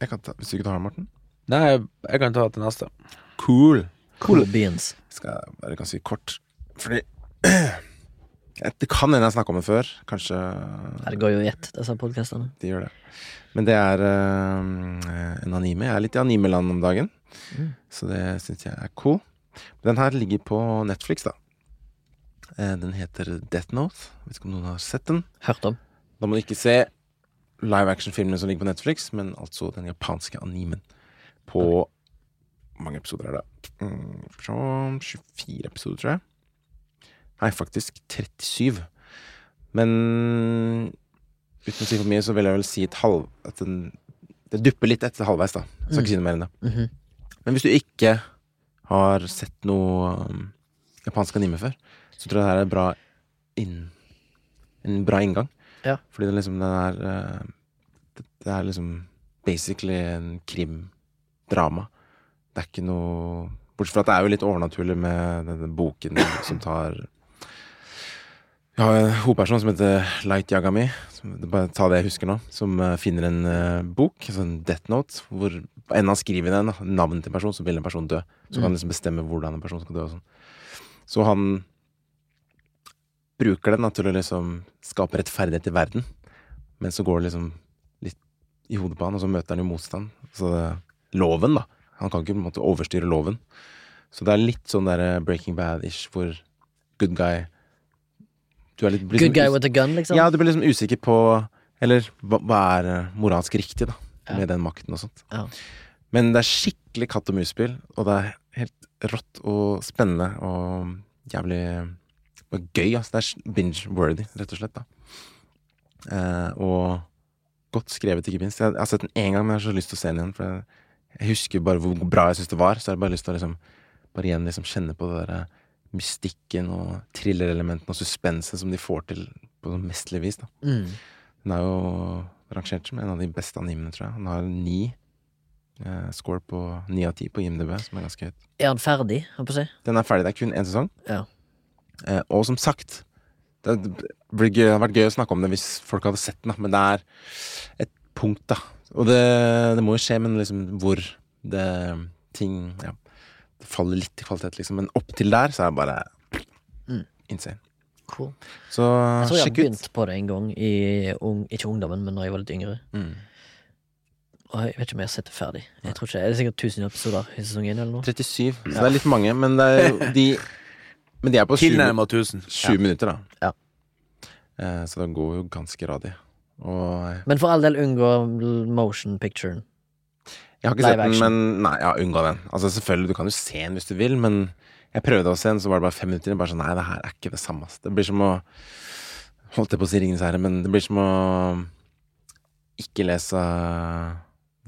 jeg kan ta, Hvis du ikke tar den, Morten? Nei, jeg- jeg kan ta til neste. Cool. Cool beans. skal være ganske kort. Fordi Det kan hende jeg snakka om det før. Kanskje Ja, det går jo i ett, disse podkastene. de gjør det. Men det er eh, en anime. Jeg er litt i animeland om dagen, Mm. så det syns jeg er cool. Den her ligger på Netflix, da. Eh, Den heter Death Note. Vet ikke om noen har sett den. Hørt om. Da må du ikke se live action-filmen som ligger på Netflix, men altså den japanske animen. På hvor mange episoder er det? Mm, skal vi se, 24 episoder, tror jeg. Nei, faktisk 37. Men uten å si for mye, så vil jeg vel si et halv at den, det dupper litt etter halvveis, da. Jeg skal ikke si noe mer enn det. Mhm. Men hvis du ikke har sett noe um, japansk anime før, så tror jeg det her er bra inn, en bra inngang. Ja. Fordi det liksom den er eh, det, det er liksom basically en krimdrama. Det er ikke noe Bortsett fra at det er jo litt overnaturlig med denne boken som tar Vi har en hovedperson som heter Light Yagami. Som, bare ta det jeg husker nå. Som eh, finner en eh, bok, altså en death note, hvor på enden av skriver den da, navnet til en person, så vil en person dø. Så kan han liksom bestemme hvordan en person skal dø og sånn. Så han bruker den da, til å liksom skape rettferdighet i verden. Men så går det liksom litt i hodet på han, og så møter han jo motstand. Så det, loven, da. Han kan ikke på en måte overstyre loven. Så det er litt sånn der eh, Breaking Bad-ish, hvor good guy du er litt blir Good liksom guy us- with a gun, liksom? Ja, du blir liksom usikker på Eller hva, hva er eh, moralsk riktig, da, med den makten og sånt. Ja. Men det er skikkelig katt og mus-spill, og det er helt rått og spennende og jævlig og gøy. Altså. Det er binge-worthy, rett og slett. da eh, Og godt skrevet, ikke minst. Jeg, jeg har sett den én gang, men jeg har så lyst til å se den igjen. For jeg, jeg husker bare hvor bra jeg syns det var, så jeg har bare lyst til å liksom Bare igjen liksom kjenne på det der mystikken og thrillerelementene og suspensen som de får til på sånn mesterlig vis. da Mm. den er jo rangert som en av de beste animene, tror jeg. Han har ni eh, score på ni av ti på IMDb, som er ganske høyt. Er han ferdig, holdt på å si? Den er ferdig, det er kun én sesong. Ja. Eh, og som sagt Det blir gøy, hadde vært gøy å snakke om det hvis folk hadde sett den, da, men det er et punkt, da. Og det, det må jo skje, men liksom hvor det ting Ja. Det faller litt i kvalitet, liksom, men opp til der så er det bare Mm. insane. Cool. Så Jeg tror jeg har sjekk ut. begynt på det en gang, i ung, ikke ungdommen, men når jeg var litt yngre. Mm. Og jeg vet ikke om jeg har sett det ferdig. Jeg tror ikke, er det sikkert 1000 episoder i sesong 1 eller noe? 37. Så det er litt mange, men det er jo de Men de er på sju, Tilnærma 1000. sju minutter, da. Ja. Eh, så det går jo ganske radig. Og jeg Men for all del, unngå l- motion picturen. har ikke Live sett den, action. men Nei, jeg har unngå den. Altså selvfølgelig, du kan jo se den hvis du vil, men jeg prøvde å se den, så var det bare fem minutter. Bare sånn, nei, det her er ikke det samme. ass. Det blir som å Holdt jeg på å si Ringenes herre, men det blir som å ikke lese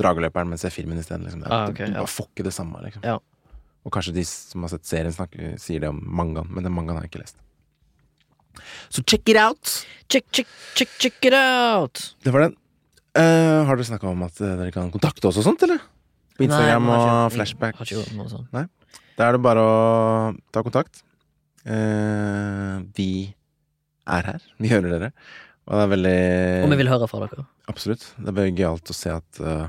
Drageløperen, men se filmen isteden. Liksom. Det er- Ah, ok, Du ja. bare får ikke det samme, liksom. Ja. Og kanskje de som har sett serien, snakker, sier det om mangaen, men den mangaen har jeg ikke lest. Så check it out! Check, check, check, check it out! Det var den. Eh, har dere snakka om at eh, dere kan kontakte oss og sånt, eller? På Instagram Nei, jeg har ikke- og flashback. jeg Har ikke gjort noe sånt. Da er det bare å ta kontakt. Eh, vi er her. Vi hører dere. Og det er veldig Om jeg vil høre fra dere. Absolutt. Det er veldig gøyalt å se at eh,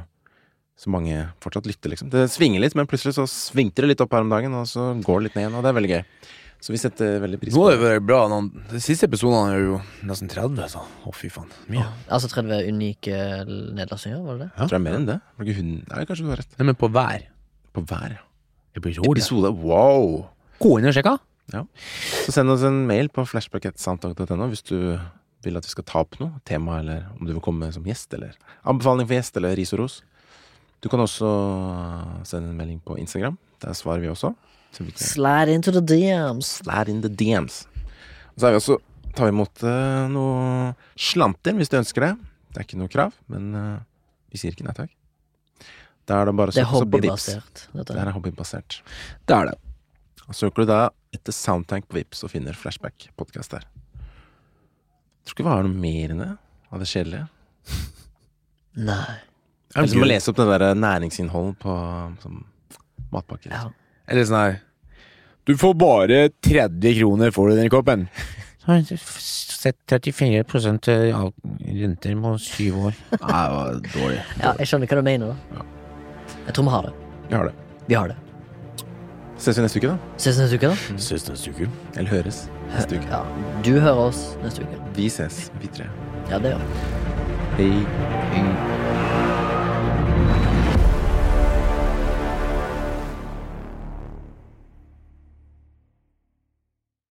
så mange fortsatt lytter, liksom. Det svinger litt, men plutselig så svingte det litt opp her om dagen, og så går det litt ned igjen, og det er veldig gøy. Så vi setter veldig pris Nå på har det det. vært bra. Noen, de siste episodene er jo nesten 30, så. Å, fy faen. Mye. Altså 30 unike nedlastninger, eh, var det det? Tror jeg er mer enn det. Var det ikke hun Nei, kanskje du har rett. Nei, men på hver På hver episode. episode. Wow! Gå inn og sjekk. da. Så send oss en mail på flashbacketsoundtalk.no hvis du vil at vi skal ta opp noe tema, eller om du vil komme som gjest, eller anbefaling for gjest, eller ris og ros. Du kan også eh, sende en melding på Instagram. Der svarer vi også. Så vi kan Slide into the DMs. slide in the DMs. Og så er vi også, tar vi imot eh, noe slanter hvis du ønsker det. Det er ikke noe krav, men eh, vi sier ikke nei takk. Da er det bare å Det er søke oss opp på Vipps. hobbybasert. Det Dette. her er hobbybasert. Det er det. Og søker du da etter Soundtank på Vips og finner Flashback podcast der. Tror ikke vi har noe mer enn det av det kjedelige. Nei. Eller så må Gud. jeg lese opp det der næringsinnholdet på um, som matpakker. Ja. Eller sånn her Du får bare 30 kroner for den koppen. Sett 34 av renter på syv år. Nei, det var dårlig. ja, jeg skjønner hva du mener, da. Jeg tror vi har det. Vi har det. Vi har det. Ses vi neste uke, da? Ses neste uke, da. Ses neste uke. Eller høres neste uke. Ja, du hører oss neste uke. Vi ses, vi tre. Ja, det gjør vi. Hei.